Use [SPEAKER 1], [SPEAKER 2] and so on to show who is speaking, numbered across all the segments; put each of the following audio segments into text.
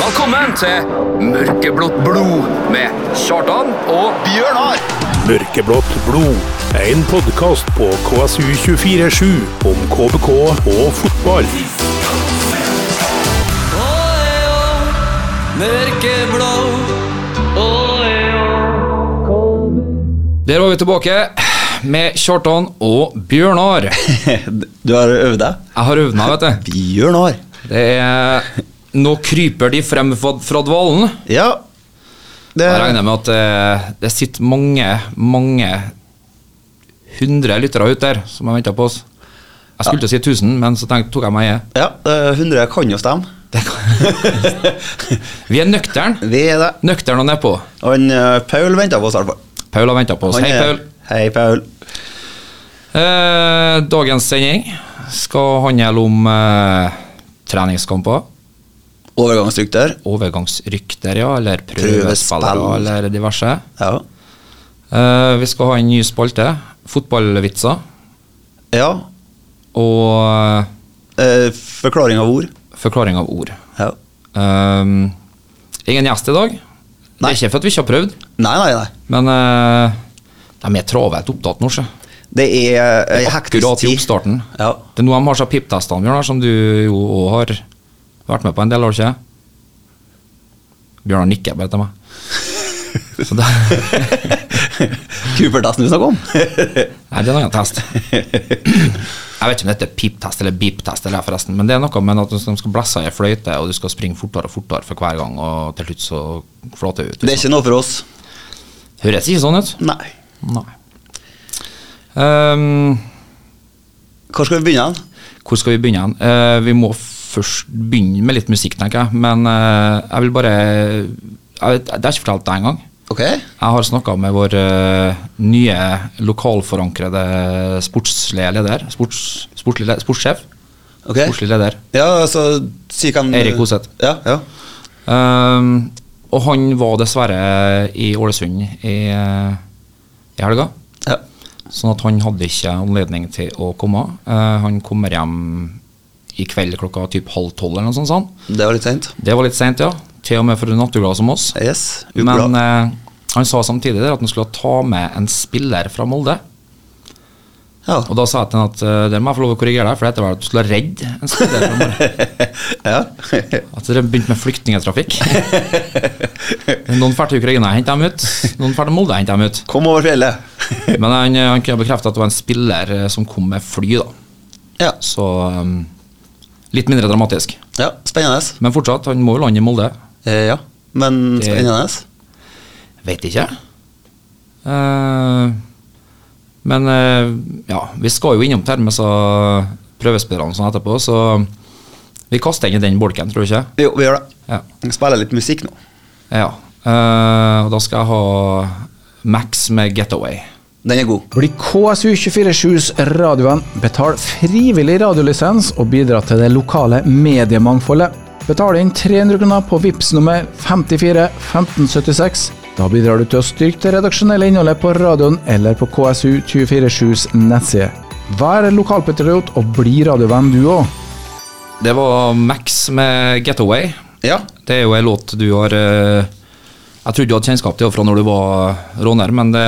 [SPEAKER 1] Velkommen til Mørkeblått blod med Kjartan og
[SPEAKER 2] Bjørnar!
[SPEAKER 3] Mørkeblått blod. En podkast på KSU247 om KBK og fotball.
[SPEAKER 1] Mørkeblå. Der var vi tilbake med Kjartan og Bjørnar. Jeg
[SPEAKER 2] Du har øvd deg?
[SPEAKER 1] har øvna, vet du.
[SPEAKER 2] Bjørnar!
[SPEAKER 1] Det er Nå kryper de frem fra, fra dvalen.
[SPEAKER 2] Ja. Det,
[SPEAKER 1] Jeg regner med at eh, det sitter mange, mange hundre lyttere ute der som har venta på oss. Jeg skulle til å si 1000, men så tenkte, tok jeg meg i.
[SPEAKER 2] ja, eh, 100 kan jo stemme.
[SPEAKER 1] Det kan- Vi er nøkterne.
[SPEAKER 2] Vi er det.
[SPEAKER 1] Nøktern og nedpå.
[SPEAKER 2] Han eh, Paul venter på oss i hvert fall.
[SPEAKER 1] Paul har venta på oss.
[SPEAKER 2] Han
[SPEAKER 1] Hei,
[SPEAKER 2] er-
[SPEAKER 1] Paul.
[SPEAKER 2] Hei, Paul.
[SPEAKER 1] Eh, dagens sending skal handle om eh, treningskamper,
[SPEAKER 2] Overgangsstruktur.
[SPEAKER 1] overgangsrykter, ja, eller
[SPEAKER 2] Prøvespill.
[SPEAKER 1] prøvespillere, eller diverse.
[SPEAKER 2] Ja.
[SPEAKER 1] Eh, vi skal ha en ny spalte, fotballvitser,
[SPEAKER 2] ja.
[SPEAKER 1] og eh,
[SPEAKER 2] eh, forklaring av ord.
[SPEAKER 1] forklaring av ord.
[SPEAKER 2] Ja.
[SPEAKER 1] Um, ingen gjest i dag. Det
[SPEAKER 2] Nei.
[SPEAKER 1] er ikke for at vi ikke har prøvd,
[SPEAKER 2] Nei, nei, nei.
[SPEAKER 1] men eh, de er travelt opptatt nå, sjø.
[SPEAKER 2] Det er ei
[SPEAKER 1] Akkurat
[SPEAKER 2] hektisk
[SPEAKER 1] i
[SPEAKER 2] tid.
[SPEAKER 1] oppstarten.
[SPEAKER 2] Ja.
[SPEAKER 1] Det er nå de har seg pip-testene, Bjørnar, som du jo òg har vært med på en del, har du ikke? Bjørnar nikker bare til meg. Så det,
[SPEAKER 2] Cooper-testen vi snakker om.
[SPEAKER 1] nei, det er en annen test. Jeg vet ikke om det heter pip-test eller beep-test, eller forresten, men det er noe med at de skal blæsse i ei fløyte, og du skal springe fortere og fortere for hver gang, og til slutt så flater det ut. liksom.
[SPEAKER 2] Det er ikke noe for oss.
[SPEAKER 1] Høres ikke sånn ut.
[SPEAKER 2] Nei.
[SPEAKER 1] Nei. Ehm,
[SPEAKER 2] Hvor skal vi begynne?
[SPEAKER 1] Hvor skal vi begynne? hen? Eh, vi må først begynne med litt musikk, tenker jeg. Men eh, jeg vil bare jeg vet, Det er ikke fortalt deg engang.
[SPEAKER 2] Ok.
[SPEAKER 1] Jeg har snakka med vår eh, nye lokalforankrede sportslige leder. Sports, sportlig le- sportssjef.
[SPEAKER 2] Ok.
[SPEAKER 1] Sportslig leder.
[SPEAKER 2] Ja, altså, si hvem
[SPEAKER 1] Erik Hoseth.
[SPEAKER 2] Ja, ja.
[SPEAKER 1] Ehm, og han var dessverre i Ålesund i, eh, i helga.
[SPEAKER 2] Ja.
[SPEAKER 1] Sånn at han hadde ikke anledning til å komme. Eh, han kommer hjem i kveld klokka typ halv tolv eller noe sånt. sånn. sa han.
[SPEAKER 2] Det var litt seint.
[SPEAKER 1] Det var litt seint, ja. Til og med for en naturglad som oss.
[SPEAKER 2] Yes. ukeblad.
[SPEAKER 1] Men eh, han sa samtidig der at han skulle ta med en spiller fra Molde.
[SPEAKER 2] ja.
[SPEAKER 1] Og da sa jeg til han at eh, det må jeg få lov å korrigere deg, for det heter vel at du skulle ha redd en spiller fra Molde.
[SPEAKER 2] ja.
[SPEAKER 1] At dere begynte med flyktningtrafikk. Noen drar til Ukraina, henter dem ut. Noen drar til Molde, henter dem ut.
[SPEAKER 2] Kom over fjellet.
[SPEAKER 1] Men han, eh, han kunne bekrefte at det var en spiller eh, som kom med fly, da.
[SPEAKER 2] ja.
[SPEAKER 1] Så um, litt mindre dramatisk.
[SPEAKER 2] ja. Spennende.
[SPEAKER 1] Men fortsatt, han må jo lande i Molde.
[SPEAKER 2] Eh, ja. Men
[SPEAKER 1] Det-
[SPEAKER 2] spennende.
[SPEAKER 1] Vet ikke. Eh, men eh, ja, vi skal jo innom Termes og prøvespillerne og sånn etterpå, så vi kaster inn i den bolken, tror du ikke?
[SPEAKER 2] Jo, vi gjør det.
[SPEAKER 1] Ja.
[SPEAKER 2] Vi spiller litt musikk nå.
[SPEAKER 1] ja. Eh, og da skal jeg ha Max med Getaway.
[SPEAKER 2] Den er god.
[SPEAKER 4] Bli KSU247s radioen. Betal frivillig radiolisens og bidra til det lokale mediemangfoldet. Betal inn 300 kroner på VIPS nummer 54 1576. Da bidrar du til å styrke det redaksjonelle innholdet på radioen eller på KSU247s nettside. Vær lokalpatriot og bli radiovenn du òg.
[SPEAKER 1] Det var Max med Getaway.
[SPEAKER 2] Ja.
[SPEAKER 1] Det er jo ei låt du har eh, Jeg trodde du hadde kjennskap til henne fra når du var råner, men det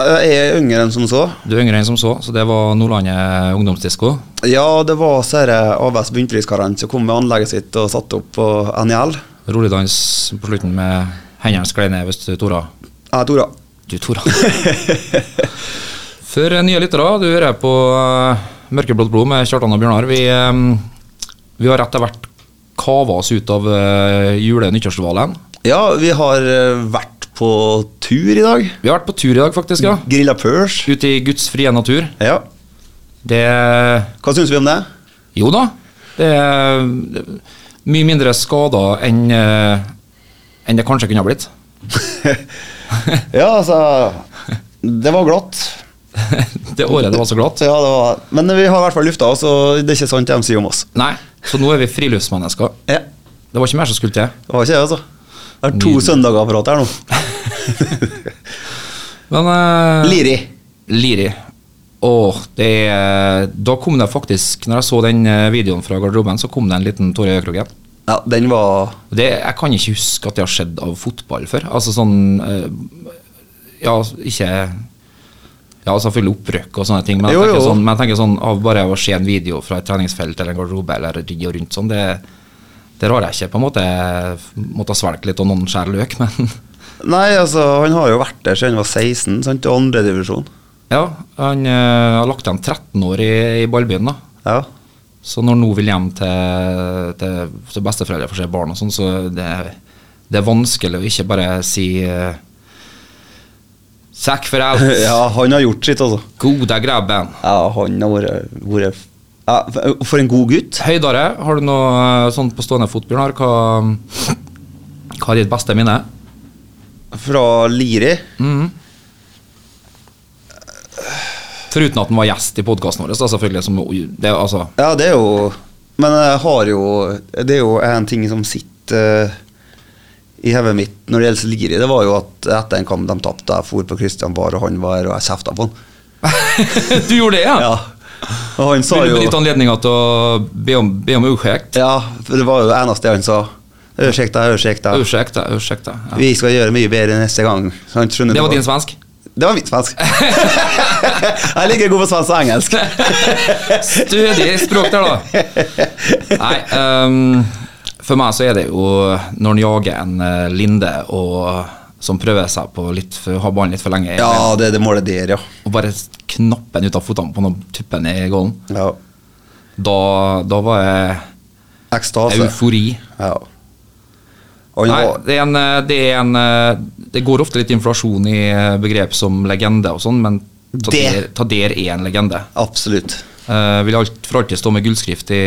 [SPEAKER 2] Jeg er yngre enn som så.
[SPEAKER 1] Du er yngre enn som så, så det var Nordlandet ungdomsdisko.
[SPEAKER 2] Ja, det var eh, disse AVS bunnpriskarene som kom med anlegget sitt og satte opp på NIL.
[SPEAKER 1] Roligdans på slutten med hendene sklei ned hvis du tora.
[SPEAKER 2] Jeg heter Tora.
[SPEAKER 1] Du tora. For eh, nye lyttere, du hører på eh, Mørkeblått blod med Kjartan og Bjørnar. Vi, eh, vi har rett og slett kava oss ut av eh, jule- og nyttårsvalen.
[SPEAKER 2] Ja, vi har eh, vært på tur i dag.
[SPEAKER 1] Vi har vært på tur i dag, faktisk. ja.
[SPEAKER 2] Grilla pørs.
[SPEAKER 1] Ute i Guds frie natur.
[SPEAKER 2] Ja.
[SPEAKER 1] Det
[SPEAKER 2] Hva syns vi om det?
[SPEAKER 1] Jo da, det er mye mindre skader enn eh, enn det kanskje kunne ha blitt.
[SPEAKER 2] Ja, altså Det var glatt.
[SPEAKER 1] det året det var så glatt.
[SPEAKER 2] Så ja, det var, men vi har i hvert fall lufta oss, og det er ikke sant de sier om oss.
[SPEAKER 1] Nei, så nå er vi friluftsmennesker.
[SPEAKER 2] Ja,
[SPEAKER 1] Det var ikke mer som skulle til.
[SPEAKER 2] det var ikke det, altså. Det er to
[SPEAKER 1] Nydelig.
[SPEAKER 2] søndager på rad her nå.
[SPEAKER 1] Men eh,
[SPEAKER 2] Liri.
[SPEAKER 1] Liri. Åh, det er Da kom det faktisk Når jeg så den eh, videoen fra garderoben, så kom det en liten Tore Øyekroken.
[SPEAKER 2] Ja, den var
[SPEAKER 1] Det, jeg kan ikke huske at det har skjedd av fotball før. Altså sånn eh, Ja, ikke Ja, altså selvfølgelig opprykk og sånne ting, men jeg,
[SPEAKER 2] Jo,
[SPEAKER 1] tenker,
[SPEAKER 2] jo.
[SPEAKER 1] Sånn, men jeg tenker sånn av bare å se en video fra et treningsfelt eller en garderobe eller ridde rundt sånn, det, det rår jeg ikke på en måte. Jeg måtte svelge litt og noen skjærer løk, men
[SPEAKER 2] Nei, altså, han har jo vært der siden han var 16, sant, til andredivisjon.
[SPEAKER 1] ja. Han eh, har lagt igjen 13 år i, i ballbyen, da.
[SPEAKER 2] Ja.
[SPEAKER 1] Så når nå vil hjem til, til, til besteforeldre for å se barn og sånn, så det, det er vanskelig å ikke bare si eh, Sekk for alt!
[SPEAKER 2] ja, han har gjort sitt, altså.
[SPEAKER 1] Gode grabben!
[SPEAKER 2] Ja, han har vært, vært ja, for- For en god gutt.
[SPEAKER 1] Høydare, har du noe eh, sånt på stående fot, Bjørnar? Hva, hva er ditt beste minne?
[SPEAKER 2] Fra Liri.
[SPEAKER 1] Foruten at han var gjest i podkasten vår, så selvfølgelig. Som, det, er altså,
[SPEAKER 2] Ja, det er jo Men jeg har jo Det er jo en ting som sitter eh, i hodet mitt når det gjelder Liri. Det var jo at etter en kamp de tapte, jeg for på Christian Bar, og han var her, og jeg kjefta på han.
[SPEAKER 1] du gjorde det, ja?
[SPEAKER 2] Ja. Og han sa
[SPEAKER 1] Vil du
[SPEAKER 2] jo
[SPEAKER 1] benytte anledninga til å be om, be om ursäkt?
[SPEAKER 2] Ja, for det var jo det eneste han sa. Unnskyld deg, unnskyld deg.
[SPEAKER 1] Ursäkta, ursäkta. Ja.
[SPEAKER 2] Vi skal gjøre mye bedre neste gang. Så han skjønner
[SPEAKER 1] Det var
[SPEAKER 2] det
[SPEAKER 1] din svensk?
[SPEAKER 2] Det var mitt svensk. jeg liker god på svensk og engelsk.
[SPEAKER 1] Stødig språk der, da. Nei, ehm, for meg så er det jo når en jager en eh, linde og som prøver seg på litt for, har ballen litt for lenge,
[SPEAKER 2] Ja, det er det målet der, ja.
[SPEAKER 1] og bare knapper den ut av føttene på noen tuppen i gålen,
[SPEAKER 2] ja.
[SPEAKER 1] da, da var jeg
[SPEAKER 2] Ekstase.
[SPEAKER 1] eufori.
[SPEAKER 2] Ja. Og han
[SPEAKER 1] Nei,
[SPEAKER 2] var,
[SPEAKER 1] det, er en, eh, det, er en, eh, det går ofte litt inflasjon i eh, begrep som legende og sånn, men Tader,
[SPEAKER 2] Det-
[SPEAKER 1] Tader er en legende.
[SPEAKER 2] absolutt.
[SPEAKER 1] Eh, vil alt, for alltid stå med gullskrift i,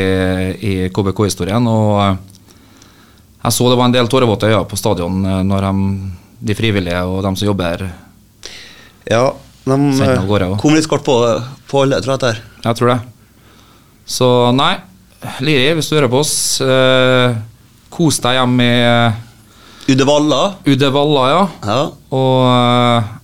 [SPEAKER 1] i KBK-historien. Og eh, jeg så det var en del tårevåte øyne på stadion eh, når de, de frivillige og de som jobber
[SPEAKER 2] Ja, de
[SPEAKER 1] Sendte av
[SPEAKER 2] eh,
[SPEAKER 1] gårde, også.
[SPEAKER 2] kom litt kort på, på alle, tror jeg. dette her.
[SPEAKER 1] Jeg tror det. Så nei, Liri, hvis du hører på oss, eh, kos deg hjemme i
[SPEAKER 2] Udevalla.
[SPEAKER 1] Udevalla, ja.
[SPEAKER 2] Ja.
[SPEAKER 1] Og eh,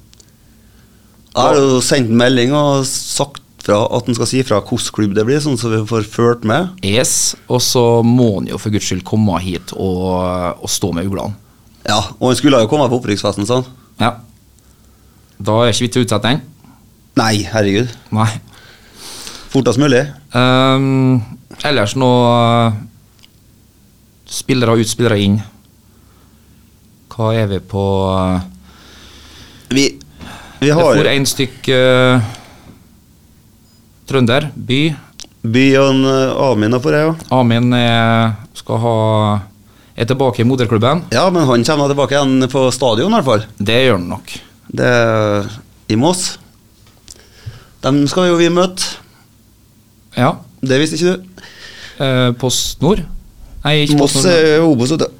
[SPEAKER 2] Jeg har jo sendt en melding og sagt fra at han skal si fra hvilken klubb det blir, sånn så vi får ført med.
[SPEAKER 1] yes, og så må han jo for guds skyld komme hit og, og stå med uglene.
[SPEAKER 2] Ja, Og han skulle jo komme på opprykksfesten, sa han.
[SPEAKER 1] Ja. Da er ikke vi til utsetning.
[SPEAKER 2] Nei, herregud.
[SPEAKER 1] Nei.
[SPEAKER 2] Fortest mulig.
[SPEAKER 1] Ehm, ellers nå eh, Spillere ut, spillere inn. Hva er vi på eh,
[SPEAKER 2] Vi, vi
[SPEAKER 1] Det
[SPEAKER 2] har
[SPEAKER 1] for én stykk eh, trønder, by.
[SPEAKER 2] byen eh, Amin og for det, ja.
[SPEAKER 1] Amin er, skal ha, er tilbake i moderklubben.
[SPEAKER 2] Ja, men han kommer tilbake igjen på stadion i hvert fall.
[SPEAKER 1] Det gjør han nok.
[SPEAKER 2] Det er i Moss. Dem skal jo vi møte.
[SPEAKER 1] Ja.
[SPEAKER 2] Det visste ikke du.
[SPEAKER 1] eh, Post Nord. Nei, ikke Post
[SPEAKER 2] Moss
[SPEAKER 1] Nord. men
[SPEAKER 2] er Obos. vet du.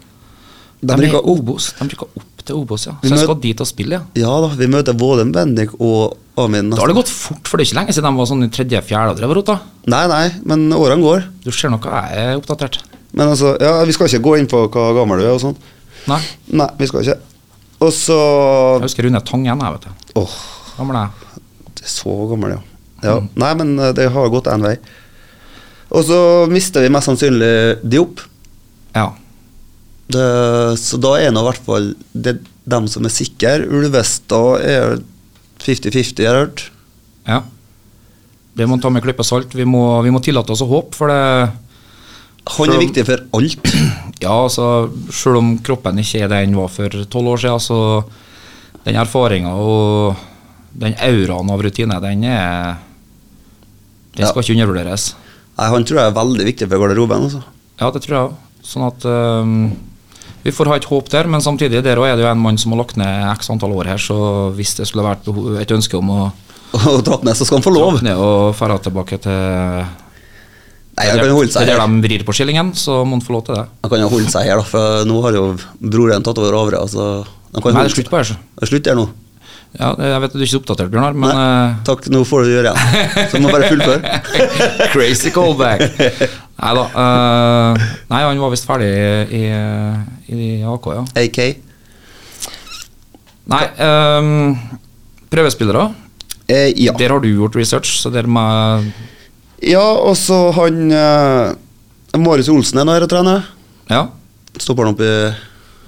[SPEAKER 1] De
[SPEAKER 2] De
[SPEAKER 1] er
[SPEAKER 2] rykker opp.
[SPEAKER 1] Obos. De rykker opp til Obos, ja.
[SPEAKER 2] Vi
[SPEAKER 1] Så jeg
[SPEAKER 2] møt-
[SPEAKER 1] skal dit og spille, ja.
[SPEAKER 2] Ja da, vi møter både Bendik og Amin.
[SPEAKER 1] Da har det gått fort, for det er ikke lenge siden de var sånn i tredje-fjerde og drev og rota.
[SPEAKER 2] Nei, nei, men årene går.
[SPEAKER 1] Du ser nok at jeg er oppdatert.
[SPEAKER 2] Men altså, ja, vi skal ikke gå inn på hva gammel du er og sånn.
[SPEAKER 1] Nei.
[SPEAKER 2] Nei, vi skal ikke. Og så
[SPEAKER 1] Jeg husker Rune Tangen, jeg, vet du.
[SPEAKER 2] Åh,
[SPEAKER 1] Gammel jeg.
[SPEAKER 2] det er så gammel, ja. ja.
[SPEAKER 1] Mm.
[SPEAKER 2] Nei, men eh, det har gått én vei. Og så mister vi mest sannsynlig Diop.
[SPEAKER 1] Ja.
[SPEAKER 2] Det, så da er nå i hvert fall det dem som er sikre. Ulvestad er 50-50, jeg har hørt.
[SPEAKER 1] ja. Det må man ta med en klype salt. Vi må, vi må tillate oss å håpe, for det
[SPEAKER 2] Han
[SPEAKER 1] Fra-
[SPEAKER 2] er viktig for alt.
[SPEAKER 1] Ja, altså, selv om kroppen ikke er det den var for tolv år siden, så den erfaringa og den auraen av rutine, den er Den
[SPEAKER 2] Ja.
[SPEAKER 1] skal ikke undervurderes.
[SPEAKER 2] Nei, han tror jeg er veldig viktig for garderoben. Altså.
[SPEAKER 1] Ja, det tror jeg òg. Sånn at øhm, vi får ha et håp der, men samtidig der også er det jo en mann som har lagt ned x antall år her, så hvis det skulle vært beho- et ønske om å
[SPEAKER 2] Og trapp ned, så skal han få lov.
[SPEAKER 1] trappe ned og dra tilbake til
[SPEAKER 2] Nei, han kan jo holde seg
[SPEAKER 1] Det er
[SPEAKER 2] her.
[SPEAKER 1] der de vrir på skillingen, så må han få lov til det.
[SPEAKER 2] Han kan jo holde seg her, da, for nå har jo broren tatt over Avra. Så
[SPEAKER 1] Nei,
[SPEAKER 2] han kan
[SPEAKER 1] det
[SPEAKER 2] holde
[SPEAKER 1] er slutt på her, så.
[SPEAKER 2] Det er slutt her nå.
[SPEAKER 1] Ja, det- jeg vet du er ikke så oppdatert, Bjørnar, men
[SPEAKER 2] Nei, takk, nå får du gjøre igjen. Så du må bare fullføre.
[SPEAKER 1] eh, Crazy callback! Nei da. nei, han var visst ferdig i, i, i AK, ja.
[SPEAKER 2] AK.
[SPEAKER 1] Nei, øhm, prøvespillere.
[SPEAKER 2] Eh, ja.
[SPEAKER 1] Der har du gjort research, så der må jeg
[SPEAKER 2] ja, og så han eh, Marius Olsen er nå her og trener.
[SPEAKER 1] Ja.
[SPEAKER 2] Stopperen oppe i,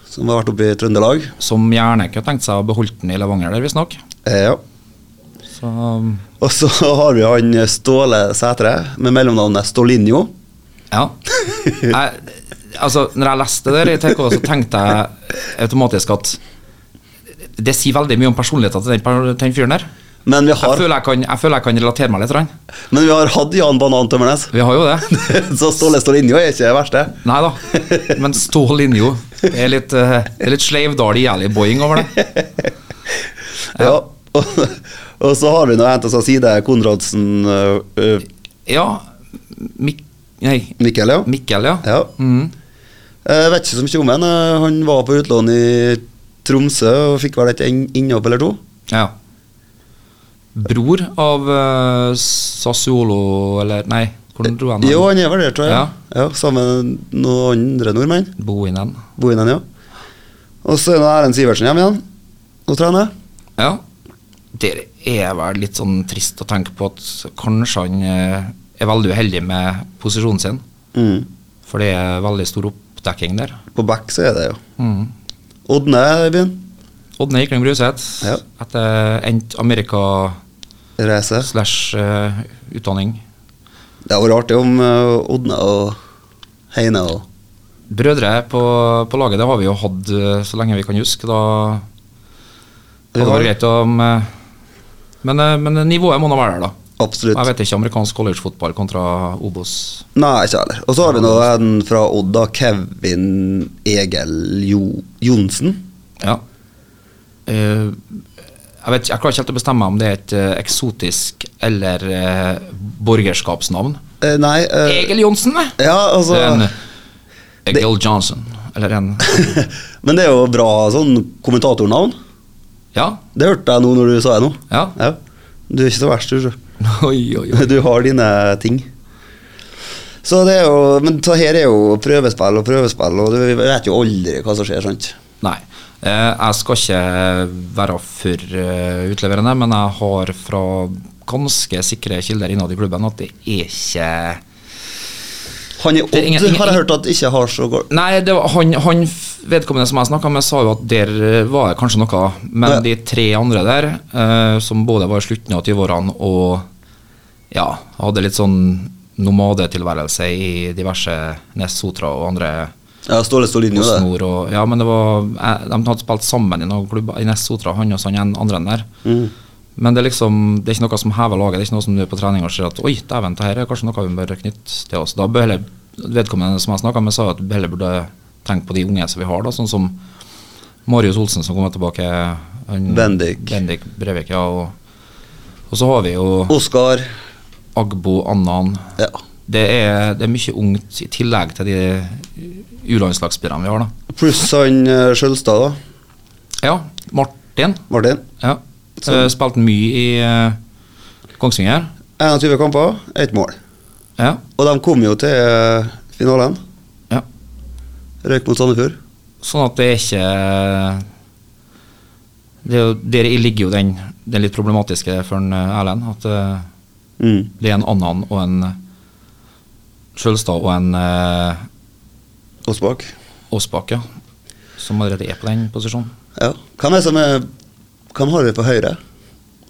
[SPEAKER 2] som har vært oppe i Trøndelag.
[SPEAKER 1] Som gjerne ikke har tenkt seg å beholde den i Levanger der, visstnok.
[SPEAKER 2] Eh, ja.
[SPEAKER 1] Så
[SPEAKER 2] Og så har vi han Ståle Sætre med mellomnavnet Stålinjo.
[SPEAKER 1] ja. Jeg, altså, når jeg leste det der i TK, så tenkte jeg automatisk at det sier veldig mye om personligheten til den, per- den fyren der.
[SPEAKER 2] Men vi
[SPEAKER 1] Jeg
[SPEAKER 2] har,
[SPEAKER 1] føler jeg, kan, jeg føler jeg kan relatere meg litt. til han.
[SPEAKER 2] men vi har hatt Jan Banan Tømmernes,
[SPEAKER 1] Vi har jo det.
[SPEAKER 2] så Ståle Stålinjo er ikke det verste.
[SPEAKER 1] Nei da. Men stå linja. Det er litt, eh, det er litt sleivdal jæli-boing over det.
[SPEAKER 2] Ja. Og, og så har vi nå en til sin side, Konradsen øh, øh,
[SPEAKER 1] Ja, Mik nei,
[SPEAKER 2] Mikkel, ja.
[SPEAKER 1] Mikkel, ja.
[SPEAKER 2] ja.
[SPEAKER 1] Mhm.
[SPEAKER 2] Jeg vet ikke så mye om han. eh, Han var på utlån i Tromsø og fikk vel et inn- innhopp eller to.
[SPEAKER 1] ja. Bror av uh, Sassuolo, eller Nei, hvordan dro han
[SPEAKER 2] Jo, han er vel der, tror jeg.
[SPEAKER 1] Ja.
[SPEAKER 2] Ja, sammen med noen andre nordmenn.
[SPEAKER 1] Bohinen.
[SPEAKER 2] Bohinen, ja. Og så er nå Erlend Sivertsen hjemme igjen og trener.
[SPEAKER 1] Ja. Det er vel litt sånn trist å tenke på at kanskje han eh, er veldig uheldig med posisjonen sin.
[SPEAKER 2] Mm.
[SPEAKER 1] For det er veldig stor oppdekking der.
[SPEAKER 2] På back så er det jo.
[SPEAKER 1] Mhm.
[SPEAKER 2] Odne er i byen.
[SPEAKER 1] Odne Ikling Bruseth
[SPEAKER 2] Ja.
[SPEAKER 1] etter endt Amerika
[SPEAKER 2] Reise.
[SPEAKER 1] slash eh, utdanning.
[SPEAKER 2] Det hadde vært artig om eh, Odne og Heine og
[SPEAKER 1] Brødre på, på laget, det har vi jo hatt eh, så lenge vi kan huske. Da hadde det
[SPEAKER 2] Ja.
[SPEAKER 1] vært greit om eh, men, eh, men nivået må nå være der, da.
[SPEAKER 2] Absolutt.
[SPEAKER 1] Jeg vet ikke amerikansk collegefotball kontra Obos.
[SPEAKER 2] Nei, ikke heller. Og så har vi nå en fra Odd, da. Kevin Egil jo Johnsen.
[SPEAKER 1] Ja. Eh, jeg, vet, ikke- jeg klarer ikke helt å bestemme om det er et eh, eksotisk eller eh, borgerskapsnavn.
[SPEAKER 2] Eh, nei eh,
[SPEAKER 1] Egil Johnsen, nei!
[SPEAKER 2] Ja, altså
[SPEAKER 1] Det er en Egil Johnson. Eller en
[SPEAKER 2] Men det er jo bra sånn kommentatornavn.
[SPEAKER 1] Ja.
[SPEAKER 2] Det hørte jeg nå når du sa det nå.
[SPEAKER 1] ja.
[SPEAKER 2] Ja. Du er ikke så verst, du. sjø.
[SPEAKER 1] Oi, oi, oi.
[SPEAKER 2] Du har dine ting. Så det er jo, Men så her er jo prøvespill og prøvespill, og du vet jo aldri hva som skjer. sant?
[SPEAKER 1] Nei. Eh, jeg skal ikke være for eh, utleverende, men jeg har fra ganske sikre kilder innad i klubben at det er ikke
[SPEAKER 2] Han i Odd
[SPEAKER 1] Det er ingen- ingen-
[SPEAKER 2] har jeg hørt at ikke har så godt
[SPEAKER 1] Nei, det var han, han f- vedkommende som jeg snakka med, sa jo at der eh, var det kanskje noe, men
[SPEAKER 2] Ja.
[SPEAKER 1] de tre andre der, eh, som både var i slutten av 20-årene og ja, hadde litt sånn nomadetilværelse i diverse Nes Sotra og andre
[SPEAKER 2] Ja, Ståle Stålinjo,
[SPEAKER 1] hos
[SPEAKER 2] det.
[SPEAKER 1] Nord og, ja, men det var, eh, de hadde spilt sammen i noen klubber i Nest Sotra, han og så han en- andre enn der. Men det er liksom, det er ikke noe som hever laget. Det er ikke noe som du er på trening og ser at oi, dæven, det her er kanskje noe vi bør knytte til oss. Da bør heller, Vedkommende som jeg snakka med, sa at vi heller burde tenke på de unge som vi har, da, sånn som Marius Olsen som kommer tilbake. Han,
[SPEAKER 2] Bendik.
[SPEAKER 1] Bendik Brevik, ja. Og, og så har vi jo
[SPEAKER 2] Oskar.
[SPEAKER 1] Agbo Annan.
[SPEAKER 2] Ja.
[SPEAKER 1] Det er, det er mye ungt i tillegg til de U-landslagsspillerne vi har, da.
[SPEAKER 2] Pluss han eh, Skjølstad, da.
[SPEAKER 1] Ja, Martin.
[SPEAKER 2] Martin.
[SPEAKER 1] Ja. Eh, Spilte mye i eh, Kongsvinger.
[SPEAKER 2] 21 kamper, ett mål.
[SPEAKER 1] Ja.
[SPEAKER 2] Og de kom jo til eh, finalen.
[SPEAKER 1] ja.
[SPEAKER 2] Røyk mot Sandefjord.
[SPEAKER 1] Sånn at det er ikke det er jo, Der ligger jo den, den litt problematiske for en, eh, Erlend. At eh,
[SPEAKER 2] Mm.
[SPEAKER 1] det er en annen og en eh, Sjølstad og en eh,
[SPEAKER 2] Åsbakk.
[SPEAKER 1] Aasbakk, ja. Som allerede er på den posisjonen.
[SPEAKER 2] Ja. Hvem er det som er Hvem har vi på høyre?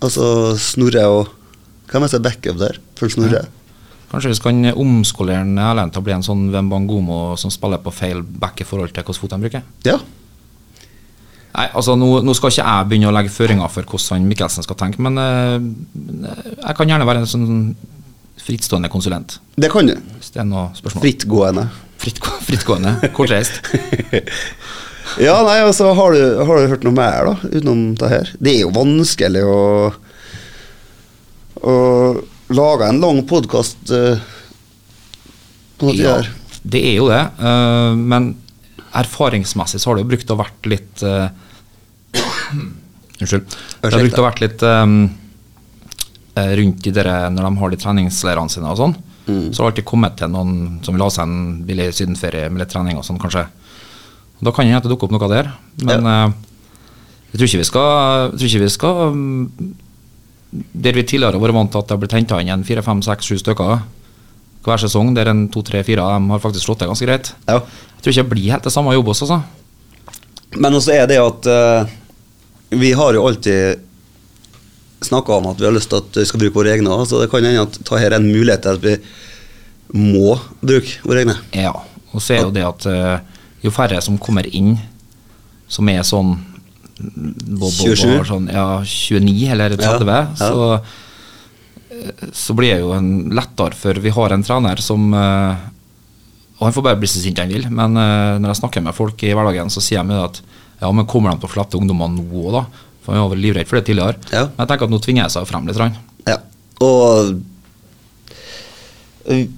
[SPEAKER 2] Altså Snorre og Hvem er det som er backup der? For Snorre?
[SPEAKER 1] Kanskje vi skal omskolere en Erlend til å bli en sånn Wembangomo som spiller på feil back i forhold til hvilken fot han bruker?
[SPEAKER 2] Ja.
[SPEAKER 1] Nei, altså nå, nå skal ikke jeg begynne å legge føringer for hvordan han Mikkelsen skal tenke, men eh, men, eh, jeg kan gjerne være en sånn frittstående konsulent,
[SPEAKER 2] Det kan du.
[SPEAKER 1] hvis det er noe spørsmål.
[SPEAKER 2] Frittgående.
[SPEAKER 1] Fritt, frittgående, kortreist.
[SPEAKER 2] Ja, nei, og så har du, har du hørt noe mer, da, utenom det her? Det er jo vanskelig å, å lage en lang podkast på noe
[SPEAKER 1] Ja,
[SPEAKER 2] ja. der.
[SPEAKER 1] det er jo det, eh, men erfaringsmessig så har det jo brukt å vært litt eh, Unnskyld. Det har
[SPEAKER 2] Unnskyld,
[SPEAKER 1] brukt å vært litt eh, eh, rundt i dere når de har de treningsleirene sine og sånn. Så har det alltid kommet til noen som vil ha seg en billig sydenferie med litt trening og sånn, kanskje. Da kan det hende at det dukker opp noe der, men eh, jeg tror ikke vi skal, jeg tror ikke vi skal um, mm, Der vi tidligere har vært vant til at det har blitt henta inn en fire, fem, seks, sju stykker, hver sesong, der en to-tre-fire av dem har faktisk slått det ganske greit.
[SPEAKER 2] Ja.
[SPEAKER 1] Jeg tror ikke det blir helt det samme jobb også, altså.
[SPEAKER 2] Men også er det at eh, vi har jo alltid snakka om at vi har lyst til at vi skal bruke våre egne. også, Så det kan hende at ta her er en mulighet til at vi må bruke våre egne.
[SPEAKER 1] Ja. Og så er jo det at eh, jo færre som kommer inn, som er sånn bo- bo- bo-
[SPEAKER 2] 27?
[SPEAKER 1] Sånn, ja, 29 eller 30,
[SPEAKER 2] Ja, ja.
[SPEAKER 1] Så, eh, så blir det jo en lettere, for vi har en trener som eh, Og han får bare bli så sint han vil, men eh, når jeg snakker med folk i hverdagen, så sier de jo at ja, men kommer de til å slippe ungdommene nå òg, da? For vi var vel livredd for det tidligere.
[SPEAKER 2] Ja.
[SPEAKER 1] Men jeg tenker at nå tvinger jeg seg frem litt. grann.
[SPEAKER 2] Ja. Og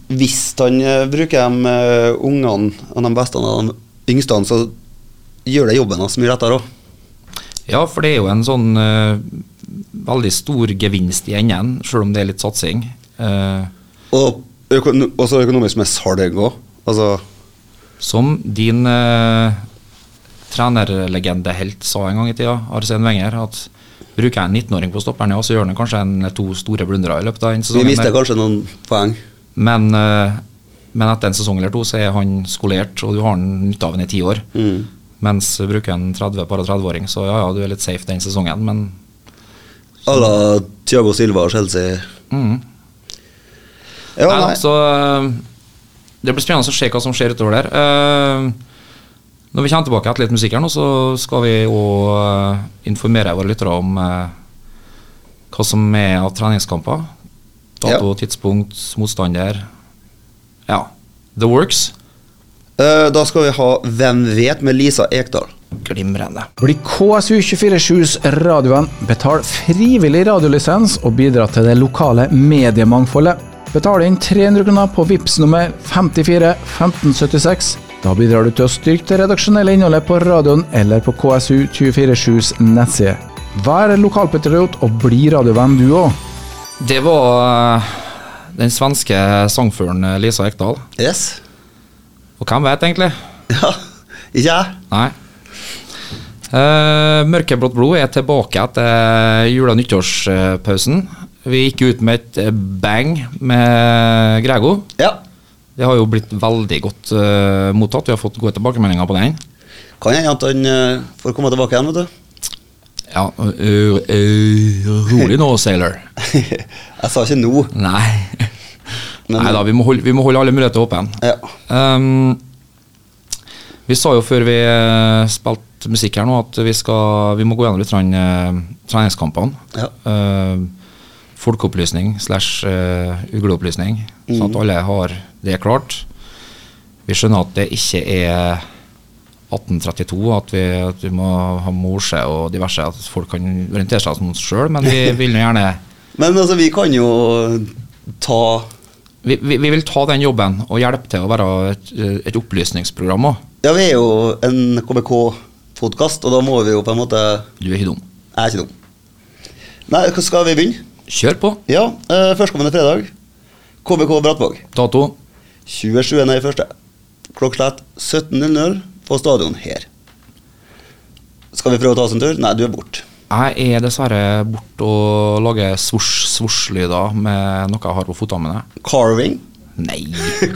[SPEAKER 2] hvis han eh, bruker de eh, ungene og de beste og de yngste, så gjør det jobben hans mye lettere òg.
[SPEAKER 1] Ja, for det er jo en sånn eh, veldig stor gevinst i enden, selv om det er litt satsing. eh,
[SPEAKER 2] Og øko- også økonomisk med salg òg. Altså,
[SPEAKER 1] som din uh, trenerlegendehelt sa en gang i tida, Arsen Wenger, at bruker jeg en 19-åring på stopperen, ja, så gjør han kanskje en eller to store blundere i løpet av en
[SPEAKER 2] vi
[SPEAKER 1] sesong.
[SPEAKER 2] mister kanskje noen poeng.
[SPEAKER 1] Men, eh, men etter en sesong eller to så er han skolert, og du har han nytte av han i ti år.
[SPEAKER 2] Mm.
[SPEAKER 1] Mens bruker en 30 par 30-åring, så ja, ja, du er litt safe den sesongen, men
[SPEAKER 2] À la Thiago Silva og Chelsea.
[SPEAKER 1] mm.
[SPEAKER 2] Ja,
[SPEAKER 1] Nei,
[SPEAKER 2] nei.
[SPEAKER 1] altså, øh, det blir spennende å se hva som skjer utover der. Eh, Når vi kommer tilbake etter litt musikk her nå, så skal vi òg øh, informere våre lyttere om eh, hva som er av treningskamper. Dato, tidspunkt, motstander. Ja, the works.
[SPEAKER 2] Eh, Da skal vi ha Hvem vet med Lisa Ekdal.
[SPEAKER 1] Glimrende.
[SPEAKER 4] Bli KSU247s radioen. Betal frivillig radiolisens og bidra til det lokale mediemangfoldet. Betal inn 300 kroner på VIPS nummer 54 1576. Da bidrar du til å styrke det redaksjonelle innholdet på radioen eller på KSU247s nettside. Vær lokalpatriot og bli radiovenn du òg.
[SPEAKER 1] Det var øh, den svenske sangføren eh, Lisa Ekdal.
[SPEAKER 2] Yes.
[SPEAKER 1] Og hvem vet, egentlig?
[SPEAKER 2] Ja, ikke jeg?
[SPEAKER 1] Nei. Eh, Mørkeblått blod er tilbake etter jule- og nyttårspausen. Vi gikk ut med et eh, bang med Grego.
[SPEAKER 2] Ja.
[SPEAKER 1] Det har jo blitt veldig godt eh, mottatt. Vi har fått gode tilbakemeldinger på den.
[SPEAKER 2] Kan hende at han eh, får komme tilbake igjen, vet du.
[SPEAKER 1] Ja, ø- ø- ø- rolig nå, Sailor.
[SPEAKER 2] jeg sa ikke nå.
[SPEAKER 1] Nei.
[SPEAKER 2] Men-
[SPEAKER 1] Nei da, vi, må holde- vi må holde alle muligheter åpne.
[SPEAKER 2] Ja.
[SPEAKER 1] Ehm, vi sa jo før vi eh, spilte musikk her nå, at vi, skal, vi må gå gjennom litt grann, eh, treningskampene.
[SPEAKER 2] Ja.
[SPEAKER 1] Ehm, folkeopplysning slash eh, ugleopplysning, sånn
[SPEAKER 2] Mhm.
[SPEAKER 1] at alle har det klart. Vi skjønner at det ikke er 1832, at vi, at vi må ha morse og diverse, at folk kan orientere seg mot seg sjøl, men vi vil nå gjerne
[SPEAKER 2] Men altså, vi kan jo ta
[SPEAKER 1] vi, vi, vi vil ta den jobben og hjelpe til å være et, et opplysningsprogram òg.
[SPEAKER 2] Ja, vi er jo en KBK-podkast, og da må vi jo på en måte Jeg
[SPEAKER 1] Du er ikke dum.
[SPEAKER 2] er ikke dum. Nei, hva skal vi begynne?
[SPEAKER 1] Kjør på.
[SPEAKER 2] Ja, eh, førstkommende fredag. KBK Brattvåg.
[SPEAKER 1] Dato.
[SPEAKER 2] 27.1. Klokkeslett 17.00 på stadion her. Skal vi prøve å ta oss en tur? Nei, du er borte.
[SPEAKER 1] Jeg er dessverre borte og lager svosj-svosj-lyder med noe jeg har på fotene mine.
[SPEAKER 2] Carving.
[SPEAKER 1] Nei,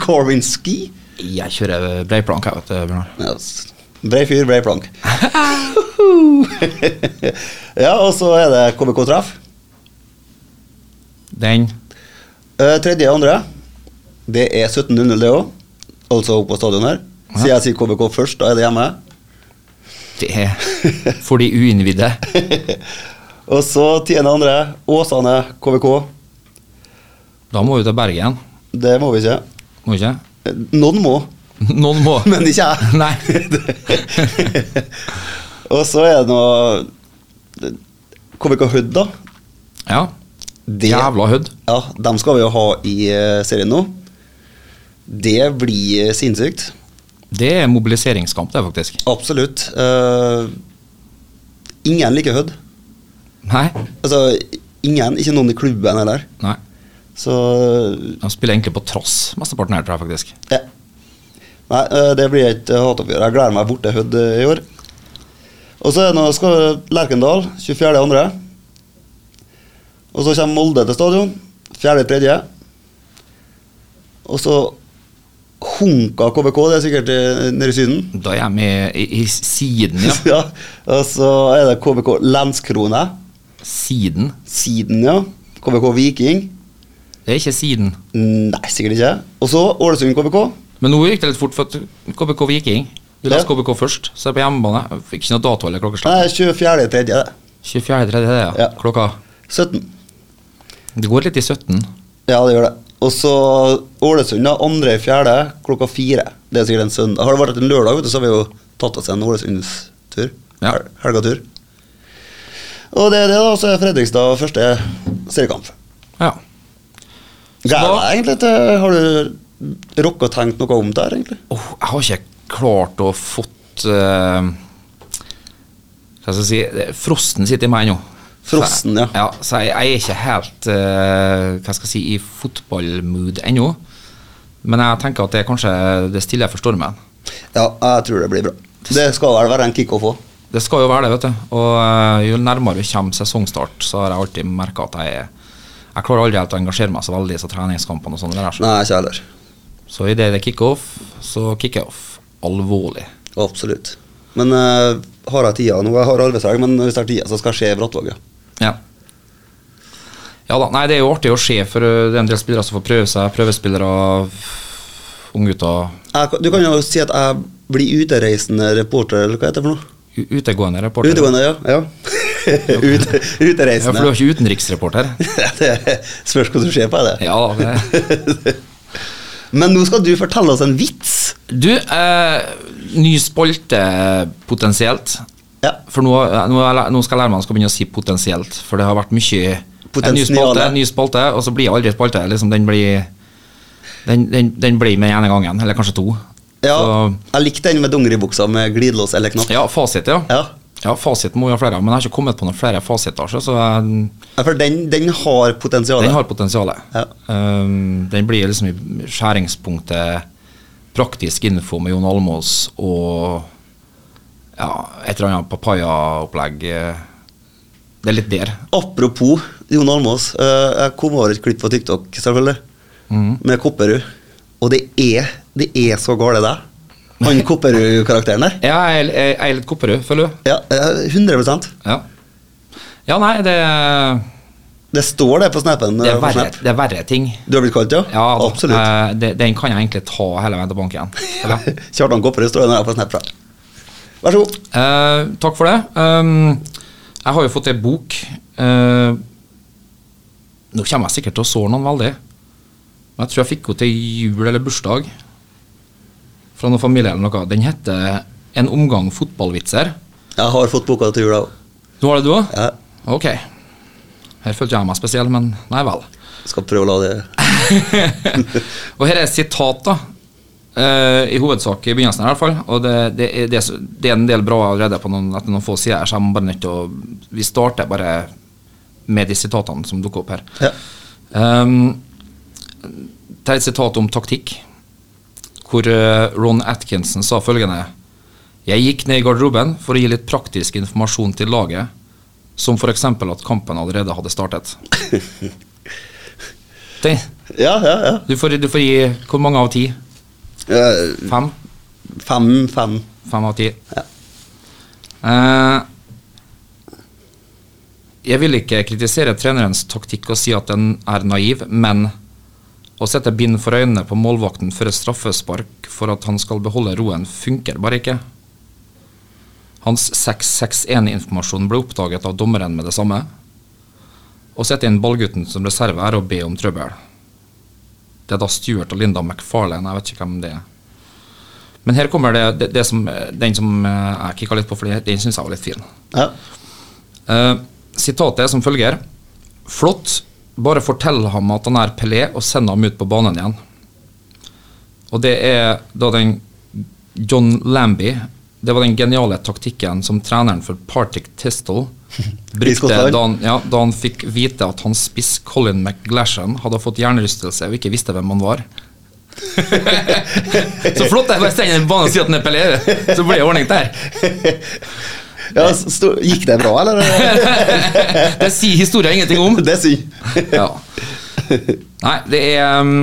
[SPEAKER 2] Carving ski.
[SPEAKER 1] jeg kjører breiplank, jeg, vet du, Bjørnar.
[SPEAKER 2] Ja, s- Brei fyr, brei plank. ja, og så er det KBK-treff.
[SPEAKER 1] Den
[SPEAKER 2] Eh, Tredje og andre. Det er 17.00 det òg. Altså oppe på stadion her. Så jeg sier KBK først, da er det hjemme.
[SPEAKER 1] det er for de uinnvidde.
[SPEAKER 2] Og så tiende og andre. Åsane KBK.
[SPEAKER 1] Da må vi til Bergen,
[SPEAKER 2] Det må vi ikke.
[SPEAKER 1] må vi ikke?
[SPEAKER 2] Eh, Noen må,
[SPEAKER 1] Noen må.
[SPEAKER 2] men ikke jeg.
[SPEAKER 1] Nei.
[SPEAKER 2] Og så er det noe KBK Hødd, da.
[SPEAKER 1] Ja.
[SPEAKER 2] Det,
[SPEAKER 1] Jævla hødd.
[SPEAKER 2] Ja, dem skal vi jo ha i eh, serien nå. Det blir eh, sinnssykt.
[SPEAKER 1] Det er mobiliseringskamp, det, faktisk.
[SPEAKER 2] Absolutt. Eh, ingen liker Hødd.
[SPEAKER 1] Nei.
[SPEAKER 2] Altså, ingen. Ikke noen i klubben heller.
[SPEAKER 1] Nei.
[SPEAKER 2] Så
[SPEAKER 1] De spiller egentlig på trass, mesteparten her, tror jeg, faktisk.
[SPEAKER 2] ja. Nei, eh, det blir et eh, hatoppgjør. Jeg gleder meg bort til Hødd eh, i år. Og så er det nå skal Lerkendal 24.2. Og så kommer Molde til stadion 4.3. Og så hunka KBK, det er sikkert eh, nede i Syden.
[SPEAKER 1] Da er jeg med i, i siden, ja.
[SPEAKER 2] Ja. Og så er det KBK Lenskrone.
[SPEAKER 1] Siden.
[SPEAKER 2] Siden, ja. KBK Viking.
[SPEAKER 1] Det er ikke siden.
[SPEAKER 2] Nei, sikkert ikke. Og så Ålesund KBK.
[SPEAKER 1] Men nå gikk det litt fort, for at KBK Viking Du
[SPEAKER 2] Ja.
[SPEAKER 1] leste KBK først, så er jeg på hjemmebane. Fikk ikke noe dato eller klokkeslett.
[SPEAKER 2] Nei, 24. tredje, det.
[SPEAKER 1] 24.30 er det, ja.
[SPEAKER 2] Ja.
[SPEAKER 1] Klokka
[SPEAKER 2] 17.
[SPEAKER 1] Det går litt i 17.
[SPEAKER 2] Ja, det gjør det. Og så Ålesund, da. Andre i fjerde klokka fire. Det er sikkert en søndag. Har det vært en lørdag, vet du, så har vi jo tatt oss en Ålesundstur.
[SPEAKER 1] Ja.
[SPEAKER 2] Hel helgatur. Og det er det, da. Og så er Fredrikstad første seriekamp.
[SPEAKER 1] Ja.
[SPEAKER 2] Gleder
[SPEAKER 1] da-
[SPEAKER 2] meg egentlig til Har du rukket å tenke noe om det her, egentlig?
[SPEAKER 1] Åh, jeg har ikke klart å fått eh, Hva skal jeg si det- Frosten sitter i meg ennå. Så jeg-
[SPEAKER 2] Frosten, ja.
[SPEAKER 1] ja så jeg, jeg er ikke helt eh, hva skal jeg si, i fotballmood ennå. Men jeg tenker at det er kanskje det stille for stormen.
[SPEAKER 2] Ja, jeg tror det blir bra. Det skal vel være en kickoff òg.
[SPEAKER 1] Det skal jo være det, vet du. Og eh, jo nærmere vi kommer sesongstart, så har jeg alltid merka at jeg er Jeg klarer aldri helt å engasjere meg så veldig i disse treningskampene og sånn. der, så-
[SPEAKER 2] Nei, ikke heller.
[SPEAKER 1] Så idet det er kickoff, så kicker jeg off. Alvorlig.
[SPEAKER 2] Absolutt. Men eh, har jeg tida nå? Jeg har arbeidshelg, men hvis jeg har tida, så skal jeg se Brattvåget.
[SPEAKER 1] Ja. Ja da, nei Det er jo artig å se, for eh, det er en del spillere som får prøve seg. Prøvespillere, unggutter.
[SPEAKER 2] Jeg kan- Du kan jo si at jeg blir utereisende reporter, eller hva heter det for noe?
[SPEAKER 1] u- Utegående reporter.
[SPEAKER 2] Utegående, ja. ja. Ute,
[SPEAKER 1] Ja, for du
[SPEAKER 2] utereisende.
[SPEAKER 1] er ikke utenriksreporter?
[SPEAKER 2] det spørs hva du ser på, er det.
[SPEAKER 1] Ja, det
[SPEAKER 2] Men nå skal du fortelle oss en vits.
[SPEAKER 1] Du, eh, ny spalte eh, potensielt.
[SPEAKER 2] Ja.
[SPEAKER 1] For nå, eh, nå, er jeg læ- nå skal jeg lære meg å skal begynne å si potensielt, for det har vært mye en ny
[SPEAKER 2] Potensiale.
[SPEAKER 1] spalte, en ny spalte, og så blir det aldri spalte. Liksom, den blir den, den, den blir med ene gangen, eller kanskje to.
[SPEAKER 2] ja.
[SPEAKER 1] Så,
[SPEAKER 2] Jeg likte den med dongeribuksa med glidelås eller knapp.
[SPEAKER 1] ja, fasit, ja.
[SPEAKER 2] Ja.
[SPEAKER 1] Ja, fasit må jo ha flere, men jeg har ikke kommet på noen flere fasiter, så- så jeg,
[SPEAKER 2] Ja, For den, den har potensial.
[SPEAKER 1] den har potensial.
[SPEAKER 2] Ja.
[SPEAKER 1] Um, den blir liksom i skjæringspunktet praktisk info med Jon Almås og ja, et eller annet papaya-opplegg. eh, Det er litt der.
[SPEAKER 2] Apropos Jon Almaas. eh, jeg kom over et klipp på TikTok selvfølgelig,
[SPEAKER 1] Mhm.
[SPEAKER 2] med Kopperud. Og det er, det er så gale, det. Han Kopperud-karakteren der.
[SPEAKER 1] Ja, jeg, jeg, jeg er litt kopperød, føler du?
[SPEAKER 2] Ja, eh, 100
[SPEAKER 1] Ja. ja, nei, det,
[SPEAKER 2] Det står det på snappen.
[SPEAKER 1] det,
[SPEAKER 2] eh,
[SPEAKER 1] er,
[SPEAKER 2] på
[SPEAKER 1] verre,
[SPEAKER 2] Snap.
[SPEAKER 1] det er verre ting.
[SPEAKER 2] Du har blitt kalt, ja?
[SPEAKER 1] Ja, da,
[SPEAKER 2] Absolutt.
[SPEAKER 1] eh, det, den kan jeg egentlig ta hele veien til banken. Eller?
[SPEAKER 2] Kjartan Kopperud står det der på Snap. fra. Vær så god.
[SPEAKER 1] Eh, takk for det. Um, jeg har jo fått ei bok. eh, nå kommer jeg sikkert til å såre noen veldig. Men jeg tror jeg fikk henne til jul eller bursdag fra noen familie eller noe. Den heter 'En omgang fotballvitser'.
[SPEAKER 2] Jeg har fått boka til jula òg.
[SPEAKER 1] Nå har det du òg?
[SPEAKER 2] Ja,
[SPEAKER 1] Ok. Her følte jeg meg spesiell, men nei vel.
[SPEAKER 2] skal prøve å la det
[SPEAKER 1] og her er et sitat, da. Eh, I hovedsak i begynnelsen, i hvert fall. Og det, det, er, det, er så- det er en del bra allerede på noen, etter noen få sider, her, så jeg må bare nødt til å Vi starter bare med de sitatene som dukker opp her.
[SPEAKER 2] Ja.
[SPEAKER 1] Um, det er et sitat om taktikk, hvor eh, Ron Atkinson sa følgende Jeg gikk ned i garderoben for å gi litt praktisk informasjon til laget, som f.eks. at kampen allerede hadde startet. Den,
[SPEAKER 2] Ja, ja, ja.
[SPEAKER 1] du får, du får gi hvor mange av ti?
[SPEAKER 2] Eh,
[SPEAKER 1] Fem?
[SPEAKER 2] Fem, fem.
[SPEAKER 1] Fem av ti.
[SPEAKER 2] Ja.
[SPEAKER 1] Eh, jeg vil ikke kritisere trenerens taktikk og si at den er naiv, men å sette bind for øynene på målvakten før et straffespark for at han skal beholde roen, funker bare ikke. Hans 6-6-1-informasjon ble oppdaget av dommeren med det samme. Å sette inn ballgutten som reserve er å be om trøbbel. Det er da Stuart og Linda McFarlane, jeg vet ikke hvem det er. Men her kommer det, det, det som, den som eh, jeg kikka litt på, for den syns jeg var litt fin.
[SPEAKER 2] Ja.
[SPEAKER 1] Eh, sitatet er som følger. Flott, bare fortell ham at han er Pelé, og send ham ut på banen igjen. Og det er da den John Lambie Det var den geniale taktikken som treneren for Partick Tistel brukte
[SPEAKER 2] Skottland?
[SPEAKER 1] da han, ja, da han fikk vite at hans spiss Colin McGlashan hadde fått hjernerystelse og ikke visste hvem han var. så flott! Jeg bare sender en bane og sier at han er Pelé, så blir det ordning der. Eh.
[SPEAKER 2] ja sto, gikk det bra, eller?
[SPEAKER 1] Det sier historien ingenting om.
[SPEAKER 2] Det er synd.
[SPEAKER 1] ja. Nei, det er um,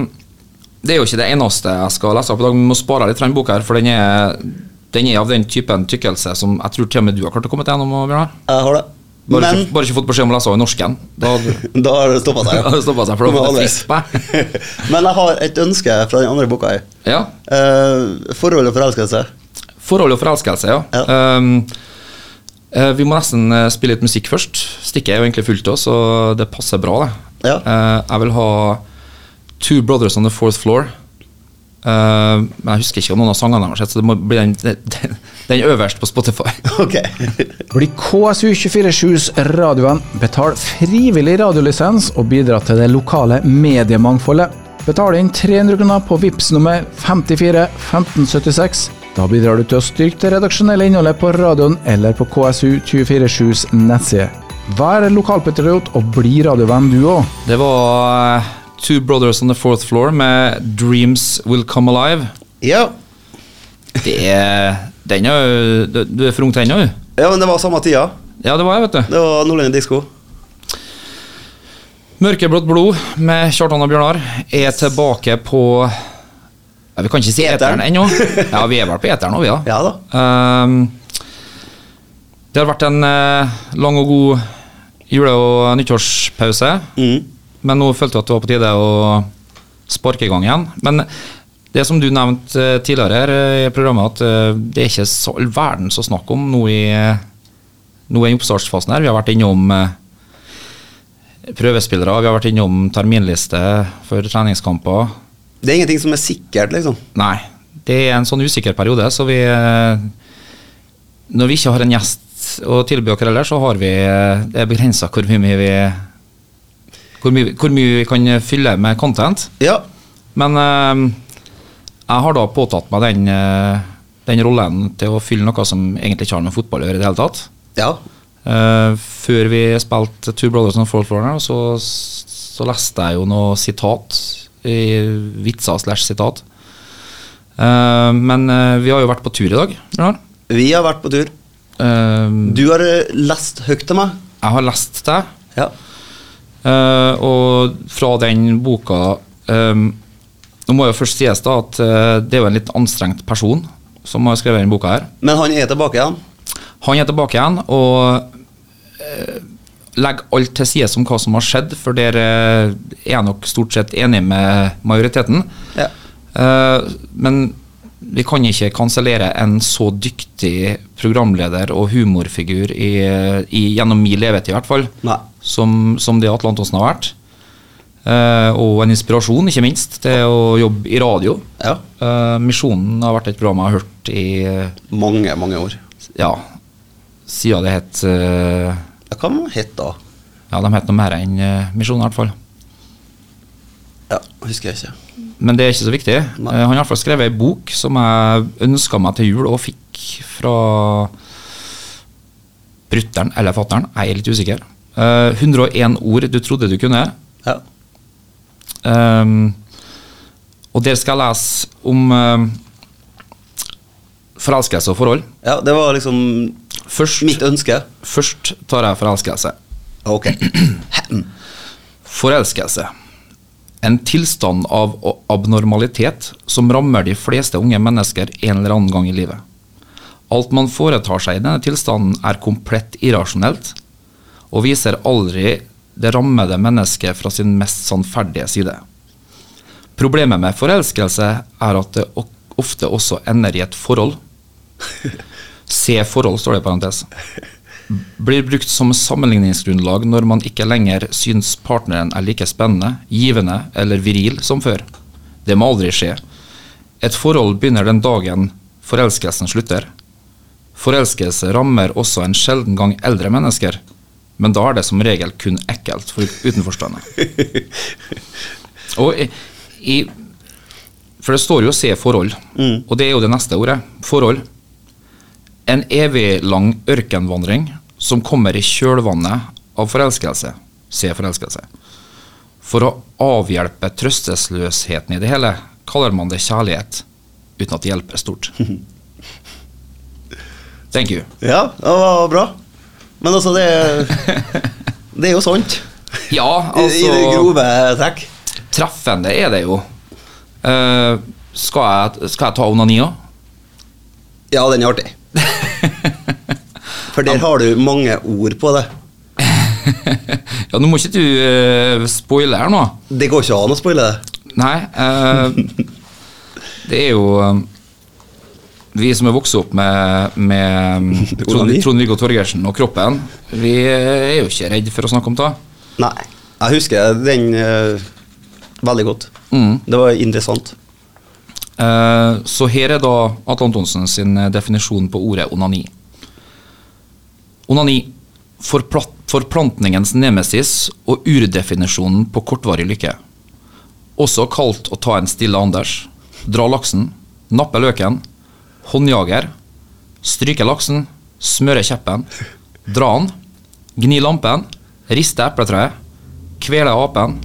[SPEAKER 1] Det er jo ikke det eneste jeg skal lese opp i dag. Vi må spare litt fra den boka her, for den er, den er av den typen tykkelse som jeg tror til og med du har klart å komme til gjennom, Bjørnar.
[SPEAKER 2] Jeg har det.
[SPEAKER 1] Bare,
[SPEAKER 2] Men
[SPEAKER 1] ikke, bare ikke fått beskjed om å lese over norsken. Da hadde du
[SPEAKER 2] da har det stoppa seg.
[SPEAKER 1] Ja, det stoppet seg, for da
[SPEAKER 2] Kommer
[SPEAKER 1] var det
[SPEAKER 2] aldri.
[SPEAKER 1] trist,
[SPEAKER 2] Men jeg har et ønske fra den andre boka her.
[SPEAKER 1] Ja.
[SPEAKER 2] Eh, forhold og forelskelse.
[SPEAKER 1] Forhold og forelskelse, ja.
[SPEAKER 2] Ja.
[SPEAKER 1] Ehm, eh, vi må nesten eh, spille litt musikk først. Stikket er jo egentlig fullt òg, så det passer bra, det.
[SPEAKER 2] Ja.
[SPEAKER 1] Eh, jeg vil ha Two Brothers on the Fourth Floor. Eh, men jeg husker ikke noen av sangene deres, så det må bli den, den, den øverst på Spotify.
[SPEAKER 2] Ok.
[SPEAKER 4] Bli KSU247s radiovenn, betal frivillig radiolisens og bidra til det lokale mediemangfoldet. Betal inn 300 kroner på VIPS nummer 54 1576. Da bidrar du til å styrke det redaksjonelle innholdet på radioen eller på KSU247s nettside. Vær lokalpatriot og bli radiovenn du òg.
[SPEAKER 1] Det var eh, Two Brothers on the Fourth Floor med Dreams Will Come Alive.
[SPEAKER 2] Ja.
[SPEAKER 1] Det er Den er jo du- Du er for ung til den ennå, du?
[SPEAKER 2] ja, men det var samme tida.
[SPEAKER 1] Ja, det var jeg, vet du.
[SPEAKER 2] Det var Nordlendingen Disko.
[SPEAKER 1] Mørkeblått blod med Kjartan og Bjørnar er tilbake på ja, Vi kan ikke si
[SPEAKER 2] Eteren.
[SPEAKER 1] eteren ennå. Ja, vi er vel på eteren nå, vi, da.
[SPEAKER 2] Ja da.
[SPEAKER 1] Ehm, det har vært en eh, lang og god jule- og nyttårspause.
[SPEAKER 2] Mm.
[SPEAKER 1] Men nå følte jeg at det var på tide å sparke i gang igjen. Men det som du nevnte eh, tidligere her eh, i programmet, at eh, det er ikke så, all verden som snakk om nå i, nå i oppstartsfasen her. Vi har vært innom eh, prøvespillere, vi har vært innom terminliste for treningskamper.
[SPEAKER 2] Det er ingenting som er sikkert, liksom.
[SPEAKER 1] Nei, det er en sånn usikker periode, så vi eh, Når vi ikke har en gjest å tilby dere heller, så har vi eh, Det er begrensa hvor mye vi hvor mye, hvor mye vi kan fylle med content.
[SPEAKER 2] Ja.
[SPEAKER 1] Men eh, jeg har da påtatt meg den, eh, den rollen til å fylle noe som egentlig ikke har med fotball å gjøre i det hele tatt.
[SPEAKER 2] Ja.
[SPEAKER 1] Eh, før vi spilte Two Brothers and Four Floor, så, så leste jeg jo noe sitat. i Vitser slash sitat. Eh, men eh, vi har jo vært på tur i dag. Bjørnar.
[SPEAKER 2] Vi har vært på tur.
[SPEAKER 1] Eh,
[SPEAKER 2] Du har eh, lest høyt til meg.
[SPEAKER 1] jeg har lest det,
[SPEAKER 2] Ja.
[SPEAKER 1] eh, og fra den boka eh, Nå må jo først sies da at eh, det er jo en litt anstrengt person som har skrevet denne boka her.
[SPEAKER 2] Men han er tilbake igjen.
[SPEAKER 1] Han er tilbake igjen og eh, legger alt til side om hva som har skjedd, for der eh, er jeg nok stort sett enig med majoriteten.
[SPEAKER 2] Ja.
[SPEAKER 1] Eh, men vi kan ikke kansellere en så dyktig programleder og humorfigur i, i, gjennom min levetid, i hvert fall,
[SPEAKER 2] Nei.
[SPEAKER 1] som, som det Atle Antonsen har vært. Eh, og en inspirasjon, ikke minst, til å jobbe i radio.
[SPEAKER 2] Ja.
[SPEAKER 1] Eh, Misjonen har vært et program jeg har hørt i eh,
[SPEAKER 2] Mange, mange år.
[SPEAKER 1] ja, siden det het eh,
[SPEAKER 2] Ja, Hva var det het da?
[SPEAKER 1] Ja, de het noe mer enn eh, Misjonen, i hvert fall.
[SPEAKER 2] Ja, husker jeg ikke.
[SPEAKER 1] Men det er ikke så viktig. Eh,
[SPEAKER 2] Nei.
[SPEAKER 1] han har i hvert fall skrevet ei bok som jeg ønska meg til jul, og fikk fra brutter'n eller fatter'n, jeg er litt usikker. Eh, 101 ord du trodde du kunne.
[SPEAKER 2] Ja.
[SPEAKER 1] Ehm, og der skal jeg lese om eh, forelskelse og forhold.
[SPEAKER 2] ja, det var liksom
[SPEAKER 1] Først,
[SPEAKER 2] mitt ønske.
[SPEAKER 1] først tar jeg forelskelse.
[SPEAKER 2] Ok.
[SPEAKER 1] Forelskelse. En tilstand av o- abnormalitet som rammer de fleste unge mennesker en eller annen gang i livet. Alt man foretar seg i denne tilstanden er komplett irrasjonelt, og viser aldri det rammede mennesket fra sin mest sannferdige side. Problemet med forelskelse er at det o- ofte også ender i et forhold. Se forhold, står det i parentes blir brukt som sammenligningsgrunnlag når man ikke lenger syns partneren er like spennende, givende eller viril som før. Det må aldri skje. Et forhold begynner den dagen forelskelsen slutter. Forelskelse rammer også en sjelden gang eldre mennesker, men da er det som regel kun ekkelt for utenforstående. Og i, i, for det står jo 'se forhold', og det er jo det neste ordet. Forhold. En evig lang ørkenvandring som kommer i kjølvannet av forelskelse. Se forelskelse. For å avhjelpe trøstesløsheten i det hele kaller man det kjærlighet, uten at det hjelper stort. Thank you.
[SPEAKER 2] Ja, det var bra. Men altså, det Det er jo sant.
[SPEAKER 1] Ja,
[SPEAKER 2] I, I det
[SPEAKER 1] altså
[SPEAKER 2] grove trekk.
[SPEAKER 1] Treffende er det jo. Eh, skal, jeg, skal jeg ta onani òg?
[SPEAKER 2] Ja, den er artig. For der har du mange ord på det.
[SPEAKER 1] ja, nå må ikke du eh, spoile her nå.
[SPEAKER 2] Det går ikke an å spoile det.
[SPEAKER 1] Nei. eh, det er jo eh, Vi som er vokst opp med, med Trond-
[SPEAKER 2] Onani?
[SPEAKER 1] Trond-Viggo Torgersen og kroppen, vi er jo ikke redd for å snakke om det.
[SPEAKER 2] Nei. Jeg husker den eh, veldig godt.
[SPEAKER 1] Mm.
[SPEAKER 2] Det var interessant.
[SPEAKER 1] Eh, Så her er da Atle Antonsen sin eh, definisjon på ordet onani. Onani forplat- forplantningens nemesis og urdefinisjonen på kortvarig lykke. Også kalt å ta en stille Anders, dra laksen, nappe løken, håndjager, stryke laksen, smøre kjeppen, dra den, gni lampen, riste epletreet, kvele apen,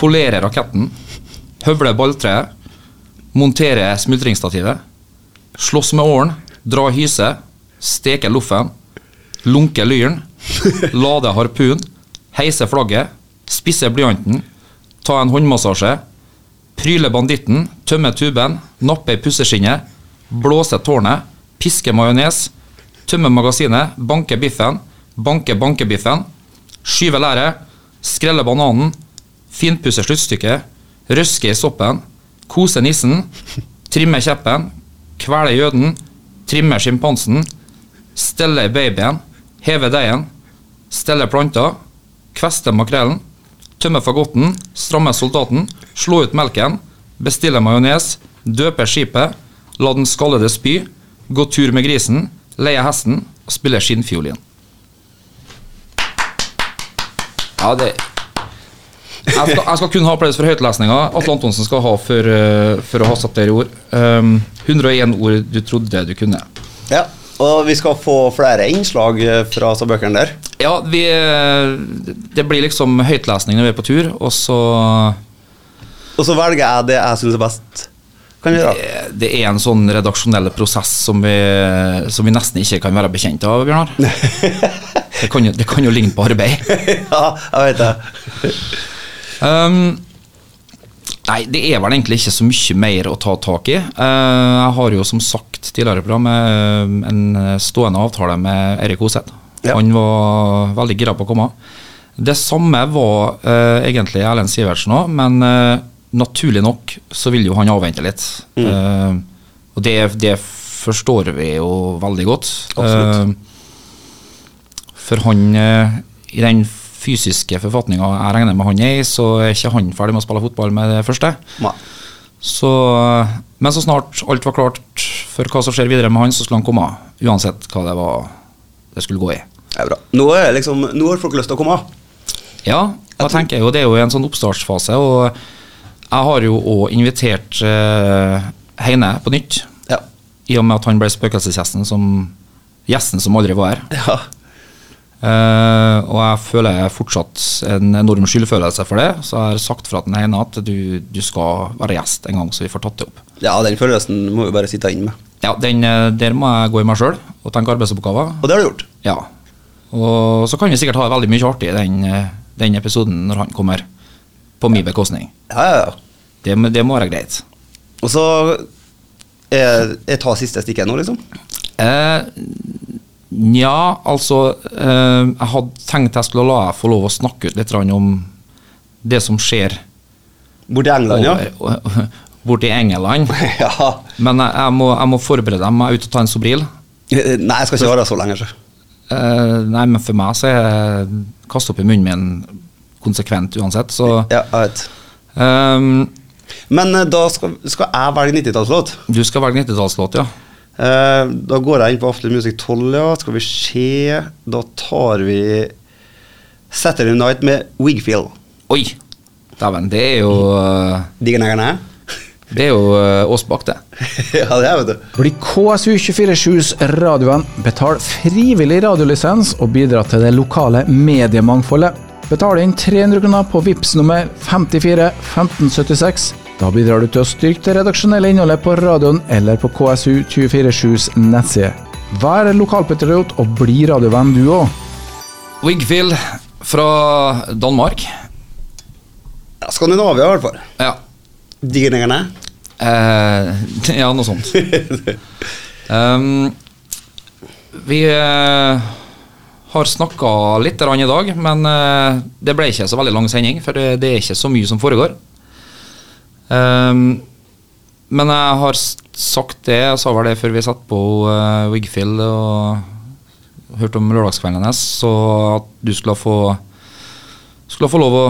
[SPEAKER 1] polere raketten, høvle balltreet, montere smultringsstativet, slåss med åren, dra hyse, steke loffen, lunke lyren, lade harpun, heise flagget, spisse blyanten, ta en håndmassasje, pryle banditten, tømme tuben, nappe i pusseskinnet, blåse tårnet, piske majones, tømme magasinet, banke biffen, banke bankebiffen, skyve læret, skrelle bananen, finpusse sluttstykket, røske i soppen, kose nissen, trimme kjeppen, kvele jøden, trimme sjimpansen, stelle babyen, heve deigen, stelle planta, kveste makrellen, tømme fagotten, stramme soldaten, slå ut melken, bestille majones, døpe skipet, la den skallede spy, gå tur med grisen, leie hesten og spille skinnfiolin. Ja, det jeg skal, jeg skal kun ha applaus for høytlesninga. Atle Antonsen skal ha for, eh, for å ha satt der i ord. Um, 101 ord du trodde du kunne.
[SPEAKER 2] Ja, og vi skal få flere innslag eh, fra så bøkene der.
[SPEAKER 1] Ja, vi eh, Det blir liksom høytlesning når vi er på tur, og så
[SPEAKER 2] Og så velger jeg det jeg syns er best. Kan vi gjøre?
[SPEAKER 1] eh, Det er en sånn redaksjonell prosess som vi, som vi nesten ikke kan være bekjent av, Bjørnar. Det kan jo, det kan jo ligne på arbeid.
[SPEAKER 2] ja, jeg vet det.
[SPEAKER 1] Um, nei, det er vel egentlig ikke så mye mer å ta tak i. Eh, jeg har jo som sagt tidligere i programmet eh, en stående avtale med Erik Hoseth.
[SPEAKER 2] Ja.
[SPEAKER 1] Han var veldig gira på å komme. Det samme var eh, egentlig Erlend Sivertsen òg, men eh, naturlig nok så vil jo han avvente litt.
[SPEAKER 2] Mm.
[SPEAKER 1] Eh, og det, det forstår vi jo veldig godt.
[SPEAKER 2] Absolutt.
[SPEAKER 1] Eh, for han, eh, i den fysiske forfatninga jeg regner med han er i, så er ikke han ferdig med å spille fotball med det første.
[SPEAKER 2] Nei.
[SPEAKER 1] Så, eh, men så snart alt var klart for hva som skjer videre med han, så skulle han komme. Uansett hva det var det skulle gå i.
[SPEAKER 2] Det er bra. Nå, er det liksom, nå har folk lyst til å komme.
[SPEAKER 1] Ja, da tenker jeg jo det er jo en sånn oppstartsfase, og jeg har jo òg invitert eh, Heine på nytt.
[SPEAKER 2] Ja.
[SPEAKER 1] I og med at han ble spøkelsesgjesten som, gjesten som aldri var her.
[SPEAKER 2] ja.
[SPEAKER 1] Eh, og jeg føler jeg fortsatt en enorm skyldfølelse for det. Så jeg har sagt fra til Heine at du, du skal være gjest en gang, så vi får tatt det opp.
[SPEAKER 2] Ja, den følelsen må vi bare sitte inne med.
[SPEAKER 1] Ja, den, eh, Der må jeg gå i meg sjøl og tenke arbeidsoppgaver.
[SPEAKER 2] Og det har du gjort.
[SPEAKER 1] Ja. Og så kan vi sikkert ha veldig mye artig i den, eh, den episoden når han kommer. På min bekostning.
[SPEAKER 2] Ja, ja, ja.
[SPEAKER 1] Det, må- det må være greit.
[SPEAKER 2] Og så jeg, jeg tar siste stikket nå, liksom.
[SPEAKER 1] Eh, Nja, altså eh, Jeg hadde tenkt jeg skulle la deg få lov å snakke ut litt grann om det som skjer
[SPEAKER 2] Borti England, ja.
[SPEAKER 1] over- borti England.
[SPEAKER 2] ja.
[SPEAKER 1] Men jeg, jeg, må, jeg må forberede meg ut og ta en Sobril.
[SPEAKER 2] Eh, Nei, jeg skal ikke være så lenge, så.
[SPEAKER 1] Eh, nei, men for meg så er kast opp i munnen min konsekvent uansett, så
[SPEAKER 2] Ja, jeg vet.
[SPEAKER 1] Ehm,
[SPEAKER 2] Men eh, da skal, skal jeg velge 90-tallslåt.
[SPEAKER 1] Du skal velge 90-tallslåt, ja.
[SPEAKER 2] Eh, da går jeg inn på After Music 12, ja. Skal vi se. Da tar vi Saturday Night med Wigfield.
[SPEAKER 1] Oi! Dæven, det er jo eh,
[SPEAKER 2] Digger nægger næ.
[SPEAKER 1] Det er jo eh, oss bak det.
[SPEAKER 2] ja, det er vet du.
[SPEAKER 4] Bli KSU247s radioen. Betal frivillig radiolisens og bidra til det lokale mediemangfoldet. Betal inn 300 kroner på VIPS nummer 54 1576. Da bidrar du til å styrke det redaksjonelle innholdet på radioen eller på KSU247s nettside. Vær lokalpatriot og bli radiovenn du òg.
[SPEAKER 1] Wigfield fra Danmark.
[SPEAKER 2] Ja, Skandinavia, i hvert fall.
[SPEAKER 1] Ja.
[SPEAKER 2] Digningene?
[SPEAKER 1] Eh, ja, noe sånt. Ehm, vi eh, har snakka litt grann i dag, men eh, det ble ikke så veldig lang sending, for det, det er ikke så mye som foregår. Ehm, men jeg har s- sagt det, jeg sa vel det før vi satt på uh, Wigfield og hørte om lørdagskvelden hennes, så at du skulle få skulle få lov å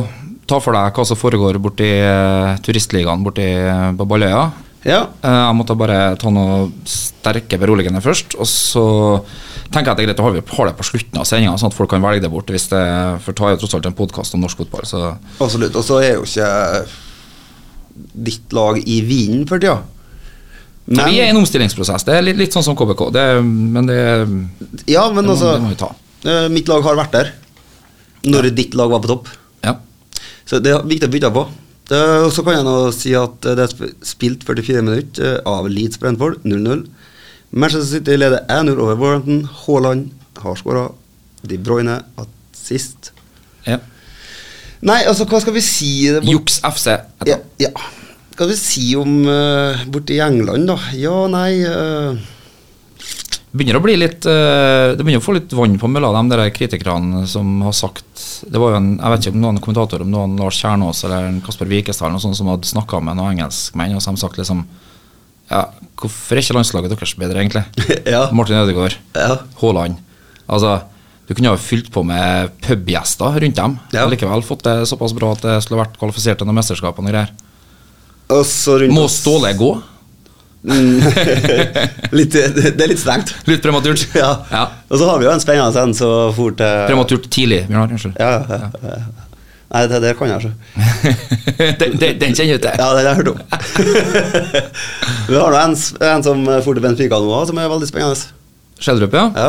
[SPEAKER 1] ta for deg hva som foregår borti uh, turistligaen borti eh, på Balløya.
[SPEAKER 2] Ja.
[SPEAKER 1] Eh, Jeg måtte bare ta noe sterke beroligende først. Og så tenker jeg at det er greit å ha vi- ha det på slutten av sendinga, sånn at folk kan velge det bort. Hvis det, for det er jo tross alt en podkast om norsk fotball, så
[SPEAKER 2] Absolutt. Og så er jo ikke eh, ditt lag i vinden for tida.
[SPEAKER 1] Men Vi er i
[SPEAKER 2] Men,
[SPEAKER 1] en omstillingsprosess. Det er litt, litt sånn som KBK. Det, er- men det er-
[SPEAKER 2] ja, men
[SPEAKER 1] det må-
[SPEAKER 2] altså
[SPEAKER 1] det må vi ta.
[SPEAKER 2] eh, Mitt lag har vært der når ditt lag var på topp.
[SPEAKER 1] Ja.
[SPEAKER 2] Så det er viktig å bytte på. Det, og så kan jeg nå si at eh, det er sp- spilt 44 minutter eh, av Leeds Brentford 0-0. Manchester City leder 1-0 over Warrington. Haaland har skåra. De Bruyne har sist.
[SPEAKER 1] ja.
[SPEAKER 2] Nei, altså, hva skal vi si? Det er bort-
[SPEAKER 1] Juks FC. heter
[SPEAKER 2] Ja,
[SPEAKER 1] det.
[SPEAKER 2] ja. Hva skal vi si om eh, borte i England, da? Ja, nei eh,
[SPEAKER 1] Begynner å bli litt eh, Det begynner å få litt vann på mølla, de der kritikerne som har sagt Det var jo en, Jeg vet ikke om noen kommentator, om noen Lars Kjernås eller en Kasper Wikestad eller noen sånne som hadde snakka med noen engelskmenn, og så har de sagt liksom Ja, hvorfor er ikke landslaget deres bedre, egentlig?
[SPEAKER 2] Ja.
[SPEAKER 1] Martin Ødegaard,
[SPEAKER 2] Ja.
[SPEAKER 1] Haaland. Altså, du kunne ha fylt på med pubgjester rundt dem,
[SPEAKER 2] Ja.
[SPEAKER 1] og likevel fått det såpass bra at det skulle vært kvalifisert til noen mesterskap og noe greier.
[SPEAKER 2] og så rundt
[SPEAKER 1] Må
[SPEAKER 2] oss-
[SPEAKER 1] Ståle gå?
[SPEAKER 2] litt, eh, det, det er litt strengt.
[SPEAKER 1] Litt prematurt.
[SPEAKER 2] Ja. Og så har vi jo en spennende en så fort eh,
[SPEAKER 1] Prematurt tidlig, Bjørnar. Unnskyld.
[SPEAKER 2] ja, ja, ja. Nei, det, det kan jeg ikke.
[SPEAKER 1] den, den, den kjenner du til.
[SPEAKER 2] Ja, det har jeg hørt om. vi har nå en, s- en som for til Bent Fikal nå, som er veldig spennende.
[SPEAKER 1] Skjeldrup, ja.
[SPEAKER 2] Ja.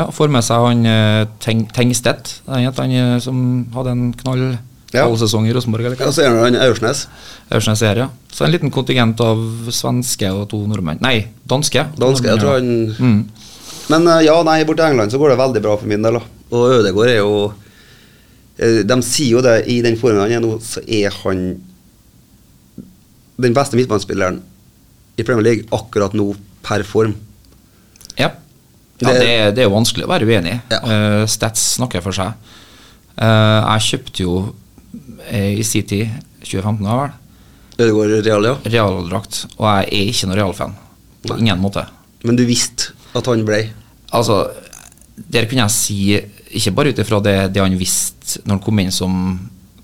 [SPEAKER 1] ja. Får med seg han eh, Teng, Tengstedt, han, het, han eh, som hadde en knall
[SPEAKER 2] Ja.
[SPEAKER 1] knallsesong i Rosenborg. eller hva?
[SPEAKER 2] Og så er det han Aursnes.
[SPEAKER 1] Øverste serie. Så en liten kontingent av svenske og to nordmenn. Nei, danske.
[SPEAKER 2] Danske, jeg tror han
[SPEAKER 1] mm.
[SPEAKER 2] Men eh, ja, nei, borte i England så går det veldig bra for min del. da. Og Ødegaard er jo eh, De sier jo det, i den formen han er nå, så er han den beste midtbanespilleren i Premier League akkurat nå per form.
[SPEAKER 1] Ja, ja
[SPEAKER 2] Det-
[SPEAKER 1] det, er- det er jo vanskelig å være uenig i.
[SPEAKER 2] Ja.
[SPEAKER 1] Eh, stats snakker for seg. Eh, jeg kjøpte jo eh, i sin tid, 2015 da vel,
[SPEAKER 2] Ødegaard Real, ja.
[SPEAKER 1] realdrakt, og jeg er ikke noen realfan. På ingen måte.
[SPEAKER 2] Men du visste at han ble
[SPEAKER 1] Altså, der kunne jeg si, ikke bare ut ifra det, det han visste når han kom inn som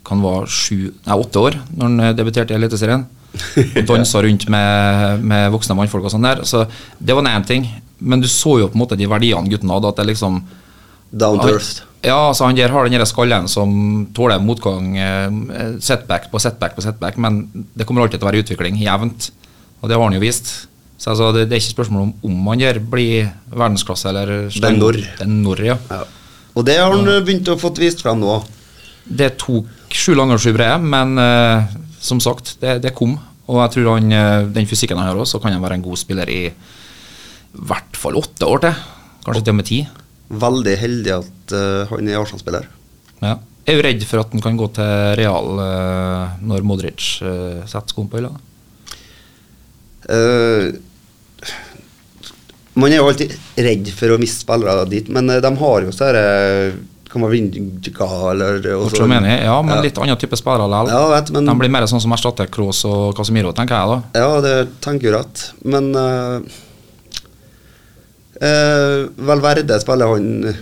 [SPEAKER 1] han var sju, nei, åtte år når han eh, debuterte i Eliteserien. Og dansa rundt med, med voksne mannfolk og sånn der. Så det var nå én ting. Men du så jo på en måte de verdiene gutten hadde. At det liksom
[SPEAKER 2] down to
[SPEAKER 1] han,
[SPEAKER 2] earth.
[SPEAKER 1] Ja, altså han der har den der skallen som tåler motgang, eh, setback på setback på setback, men det kommer alltid til å være utvikling, jevnt. Og det har han jo vist. Så altså, det, det er ikke spørsmål om om han der blir verdensklasse eller
[SPEAKER 2] Det er når.
[SPEAKER 1] Det er når, ja.
[SPEAKER 2] Ja. Og det har han eh, begynt å få vist frem nå.
[SPEAKER 1] Det tok sju lange og sju brede, men eh, som sagt, det, det kom. Og jeg tror han, eh, den fysikken han har også, så kan han være en god spiller i hvert fall åtte år til. Kanskje til og med ti.
[SPEAKER 2] Veldig heldig at eh, han er Arsenal-spiller.
[SPEAKER 1] Ja. Jeg er jo redd for at den kan gå til Real eh, når Modric eh, setter skoen på hylla.
[SPEAKER 2] Eh, man er jo alltid redd for å miste spillere dit, men eh, de har jo sånne Kan man vinne eller eh, og så-
[SPEAKER 1] Otchomeni, ja, men
[SPEAKER 2] ja.
[SPEAKER 1] litt annen type spillere likevel.
[SPEAKER 2] Ja, vet, men-
[SPEAKER 1] De blir mer sånn som erstatter Kroos og Casemiro, tenker jeg da.
[SPEAKER 2] Ja, det tenker du rett, men uh, eh, Valverde spiller han eh,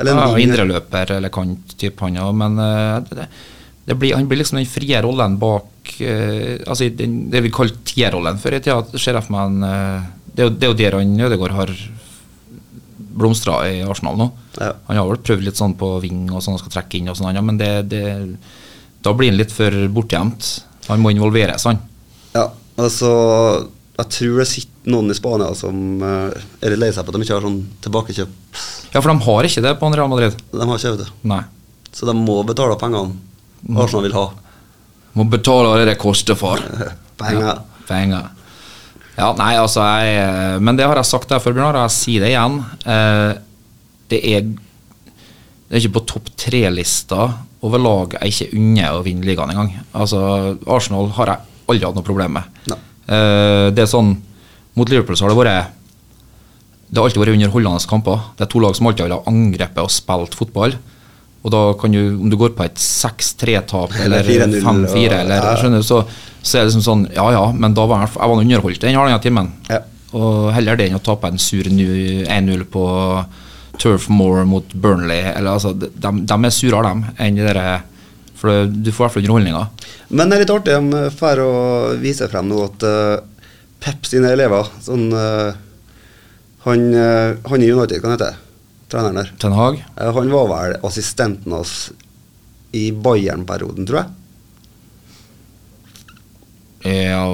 [SPEAKER 2] Eller
[SPEAKER 1] Ja,
[SPEAKER 2] en wing.
[SPEAKER 1] Indreløper eller kant-type, han òg, men eh, det, det blir, han blir liksom den frie rollen bak eh, Altså i den, det vi kalte T-rollen før i tida. Ser jeg for meg en eh, det, er jo- det er jo der han Ødegaard har blomstra i Arsenal nå.
[SPEAKER 2] Ja.
[SPEAKER 1] Han har vel prøvd litt sånn på ving og sånn, og skal trekke inn og sånn, ja, men det, det Da blir han litt for bortgjemt. Han må involveres, han.
[SPEAKER 2] Ja, altså Jeg tror det sitter noen i Spania som eh, er litt lei seg på at de ikke har sånn tilbakekjøp.
[SPEAKER 1] Ja, for de har ikke det på en Real Madrid.
[SPEAKER 2] De har ikke, vet du.
[SPEAKER 1] Nei.
[SPEAKER 2] Så de må betale pengene Arsenal vil ha.
[SPEAKER 1] Må betale det det koster for.
[SPEAKER 2] Penger.
[SPEAKER 1] Ja, penger. Ja, nei, altså jeg, Men det har jeg sagt der før, Bjørnar, og jeg sier det igjen. Eh, det er Det er ikke på topp tre-lista over lag jeg ikke unner å vinne ligaen engang. Altså, Arsenal har jeg aldri hatt noe problem med.
[SPEAKER 2] Nei.
[SPEAKER 1] Eh, det er sånn, Mot Liverpool så har det vært det har alltid vært underholdende kamper. Det er to lag som alltid har angrepet og spilt fotball. Og da kan du, om du går på et 6-3-tap
[SPEAKER 2] Eller
[SPEAKER 1] eller
[SPEAKER 2] 4-0,
[SPEAKER 1] 5-4,
[SPEAKER 2] og-
[SPEAKER 1] eller,
[SPEAKER 2] ja.
[SPEAKER 1] skjønner du, så, så er det liksom sånn Ja ja, men da var jeg, jeg var underholdt den halvannen timen.
[SPEAKER 2] Ja.
[SPEAKER 1] Og heller det enn å tape en sur nu- 1-0 på Turf Moor mot Burnley. Eller, altså, de, de er surere, dem, enn det der For det- du får i hvert fall underholdninga.
[SPEAKER 2] Men det er litt artig de får å vise frem nå at uh, Pep sine elever sånn, eh, han, eh, han i United, kan hete treneren der.
[SPEAKER 1] Ten Hag.
[SPEAKER 2] Eh, han var vel assistenten hans i Bayern-perioden, tror jeg.
[SPEAKER 1] Ja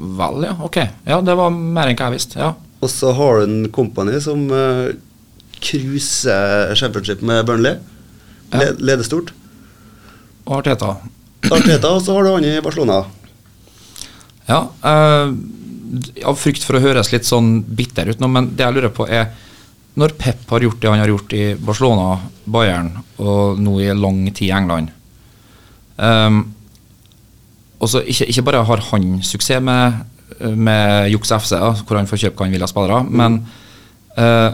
[SPEAKER 1] vel, ja. Ok. Ja, det var mer enn hva jeg visste. Ja.
[SPEAKER 2] Og så har du en company som eh, cruiser championship med Burnley.
[SPEAKER 1] Ja.
[SPEAKER 2] Le leder stort.
[SPEAKER 1] Og Arteta.
[SPEAKER 2] Arteta, og så har du han i Barcelona.
[SPEAKER 1] Ja, eh, d- Av frykt for å høres litt sånn bitter ut nå, men det jeg lurer på er Når Pep har gjort det han har gjort i Barcelona, Bayern og nå i lang tid i England ehm, og så ikke, ikke bare har han suksess med, med Juks FC, da, hvor han får kjøpe hva han vil av spillere, men eh,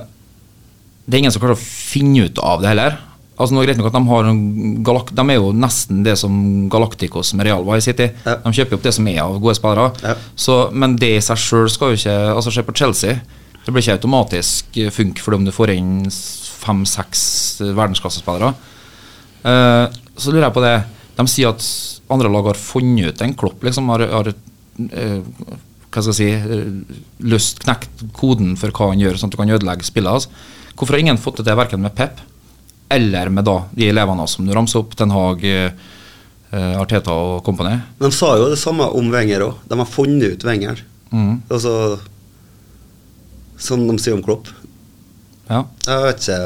[SPEAKER 1] det er ingen som klarer å finne ut av det heller. Altså nå er det greit nok at De har en galak de er jo nesten det som Galacticos med Real var i City.
[SPEAKER 2] Ja.
[SPEAKER 1] De kjøper opp det som er av gode spillere.
[SPEAKER 2] Ja.
[SPEAKER 1] Så, men det i seg sjøl skal jo ikke Altså Se på Chelsea. Det blir ikke automatisk eh, funk fordi om du får inn s- fem-seks eh, verdensklassespillere. Eh, så lurer jeg på det De sier at andre lag har funnet ut en klopp, liksom. Har, har eh, hva skal jeg si eh, Løst, knekt koden for hva han gjør, sånn at du kan ødelegge spillet hans. Hvorfor har ingen fått til det verken med Pep eller med da de elevene hans som du ramser opp, Ten Hag, eh, eh, Arteta og company?
[SPEAKER 2] De sa jo det samme om Wenger òg. De har funnet ut Wenger.
[SPEAKER 1] Mm,
[SPEAKER 2] Altså, som de sier om Klopp.
[SPEAKER 1] ja.
[SPEAKER 2] Jeg vet ikke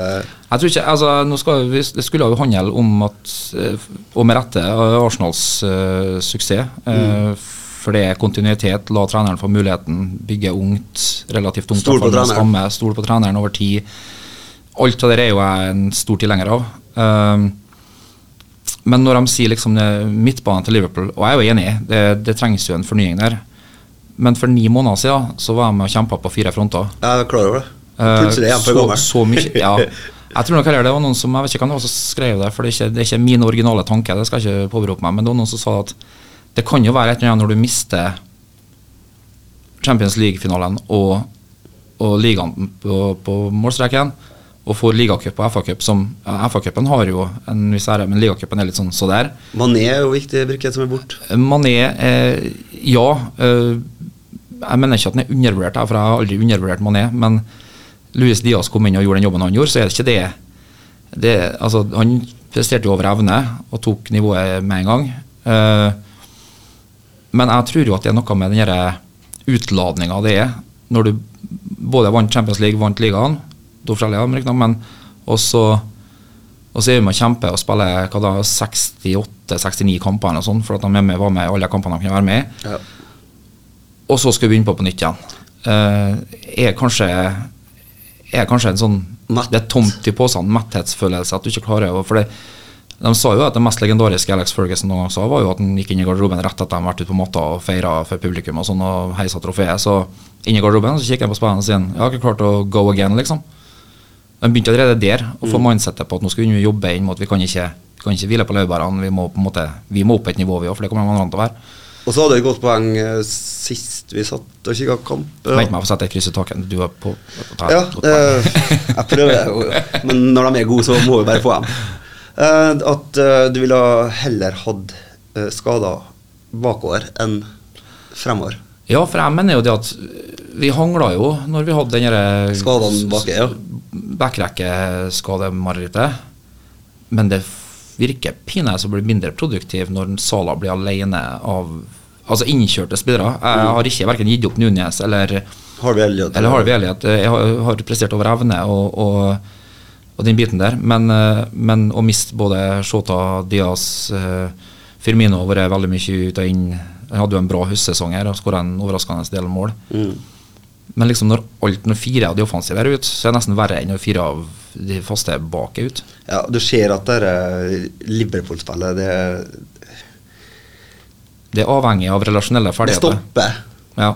[SPEAKER 1] Jeg tror ikke, altså nå skal vi, Det skulle jo handle om at eh, Og med rette eh, Arsenals eh, suksess. eh,
[SPEAKER 2] Mm.
[SPEAKER 1] For det er kontinuitet. La treneren få muligheten. Bygge ungt. Relativt ungt.
[SPEAKER 2] Stol på
[SPEAKER 1] iallfall, med
[SPEAKER 2] treneren.
[SPEAKER 1] Stamme, stol på treneren over tid. Alt av det er jo jeg en stor tilhenger av. Ehm, men når de sier liksom det- midtbanen til Liverpool, og jeg er jo enig, i, det, det trengs jo en fornying der. Men for ni måneder siden så var jeg med og kjempa på fire fronter.
[SPEAKER 2] Jeg er klar over det.
[SPEAKER 1] Eh,
[SPEAKER 2] Plutselig er jeg for
[SPEAKER 1] så-
[SPEAKER 2] gammel.
[SPEAKER 1] Så mye, ja. Jeg tror nok heller det var noen som Jeg vet ikke hvem det var som skrev det, for det er ikke, det er ikke min originale tanke. Det skal jeg ikke påberope meg, men det var noen som sa at det kan jo være et eller annet når du mister Champions League-finalen og, og ligaen på, på målstreken, og får ligacup og FA-cup som ja, FA-cupen har jo en viss ære, men ligacupen er litt sånn så der.
[SPEAKER 2] Mané er jo viktig brikke som er borte.
[SPEAKER 1] Mané, eh, ja. Eh, jeg mener ikke at han er undervurdert, jeg, for jeg har aldri undervurdert Mané. Men Luis Diaz kom inn og gjorde den jobben han gjorde, så er det ikke det, det altså, Han presterte jo over evne og tok nivået med en gang. Eh, men jeg tror jo at det er noe med den utladninga det er. Når du både vant Champions League, vant ligaen, to forskjellige, men riktignok, men og så og så er vi med å kjempe og spille hva da, 68-69 kamper eller noe sånt, for at de er med, var med i alle kampene de kunne være med i.
[SPEAKER 2] Ja.
[SPEAKER 1] Og så skal vi begynne på på nytt igjen. Eh, er kanskje er kanskje en sånn
[SPEAKER 2] Matt.
[SPEAKER 1] Det er tomt i posen, metthetsfølelse, at du ikke klarer å For det, de sa jo at det mest legendariske Alex Ferguson noen gang sa, var jo at han gikk inn i garderoben rett etter at de hadde vært ute på matta og feira for publikum og sånn, og heisa trofeet. Så inn i garderoben så kikker han på spillerne sine. Jeg har ikke klart å go again, liksom. De begynte allerede der å få mindsetet på at nå skal vi jobbe inn mot vi kan ikke, vi kan ikke hvile på laurbærene. Vi må på en måte, vi må opp et nivå, vi òg, for det kommer de andre til å være.
[SPEAKER 2] Og så hadde vi et godt poeng eh, sist vi satt og kikka kamp. eh,
[SPEAKER 1] Vent meg for å sette et kryss i taket. Du er på, ta et
[SPEAKER 2] Ja,
[SPEAKER 1] godt poeng.
[SPEAKER 2] eh, jeg prøver, jo, men når de er gode, så må vi bare få dem. Eh, at eh, du ville heller hatt eh, skader bakover enn fremover.
[SPEAKER 1] ja, for jeg mener jo det at vi hangla jo når vi hadde den eh, derre
[SPEAKER 2] Skadene bak, ja.
[SPEAKER 1] Backrekkeskademareritet. Men det virker pinadø som blir mindre produktiv når Sala blir alene av Altså innkjørte spillere.
[SPEAKER 2] Mm.
[SPEAKER 1] Jeg har ikke hverken gitt opp Nunes eller
[SPEAKER 2] Har vi Elliot?
[SPEAKER 1] Eller har vi ærlighet? Jeg har, har prestert over evne og, og, og den biten der. Men, eh, men å miste både Shota, Diaz, eh, Firmino har vært veldig mye ut og inn. Han hadde jo en bra høstsesong her og skåra en overraskende del mål.
[SPEAKER 2] Mm.
[SPEAKER 1] Men liksom når alt når fire av de offensive er ute, så er det nesten verre enn når fire av de faste bak er ute.
[SPEAKER 2] eh, Ja, du ser at det er Liverpool-spillet det er-
[SPEAKER 1] Det er avhengig av relasjonelle
[SPEAKER 2] Det
[SPEAKER 1] ferdigheter.
[SPEAKER 2] stopper.
[SPEAKER 1] Ja.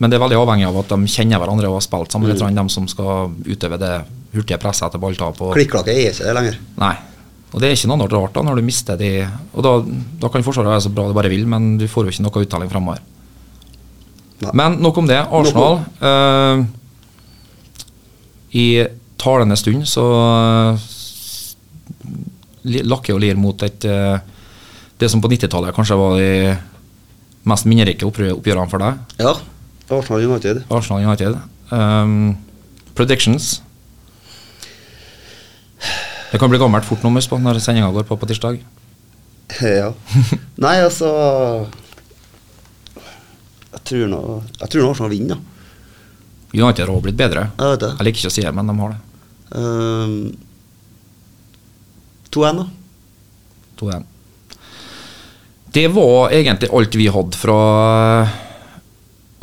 [SPEAKER 1] Men det er veldig avhengig av at de kjenner hverandre og har spilt
[SPEAKER 2] Mm.
[SPEAKER 1] sammen. litt grann, De som skal utøve det hurtige presset etter balltap. Og,
[SPEAKER 2] Klikk-klakk er ikke det lenger.
[SPEAKER 1] nei. og det er ikke noe rart da, når du mister de Og da, da kan Forsvaret være så bra det bare vil, men du får jo ikke noe uttelling framover.
[SPEAKER 2] Nei.
[SPEAKER 1] Men nok om det. Arsenal eh, I talende stund så eh, li- lakker og lir mot et eh, Det som på 90-tallet kanskje var de mest minnerike opprø- oppgjørene for deg.
[SPEAKER 2] Ja. Arsenal United.
[SPEAKER 1] Arsenal United. Um, predictions. Det kan bli gammelt fort nå, husk på, når sendinga går på på tirsdag.
[SPEAKER 2] Ja. Nei, altså Jeg tror nå Jeg tror nå Arsenal vinner, da.
[SPEAKER 1] United har også blitt bedre.
[SPEAKER 2] Jeg vet det.
[SPEAKER 1] Jeg liker ikke å si det, men de har det.
[SPEAKER 2] Ehm, 2-1, da.
[SPEAKER 1] 2-1. Det var egentlig alt vi hadde fra eh,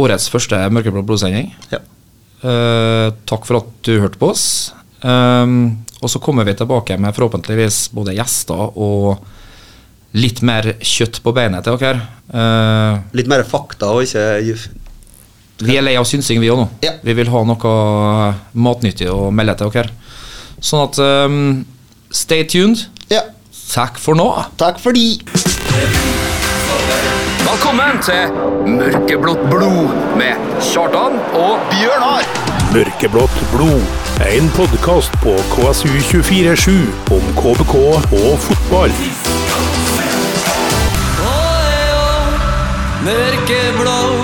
[SPEAKER 1] årets første Mørkeblå blodsending.
[SPEAKER 2] Ja.
[SPEAKER 1] Eh, takk for at du hørte på oss. Um, og så kommer vi tilbake med forhåpentligvis både gjester og litt mer kjøtt på beinet til dere. Eh,
[SPEAKER 2] Litt mer fakta og ikke juff.
[SPEAKER 1] Vi er lei av synsing, vi òg nå.
[SPEAKER 2] Ja.
[SPEAKER 1] Vi vil ha noe matnyttig å melde til dere. Sånn at ehm, stay tuned.
[SPEAKER 2] Ja.
[SPEAKER 1] Takk for nå.
[SPEAKER 2] Takk for de.
[SPEAKER 5] Velkommen til Mørkeblått blod med Kjartan og Bjørnar.
[SPEAKER 3] Mørkeblått blod. En podkast på KSU247 om KBK og fotball.
[SPEAKER 5] Mørkeblå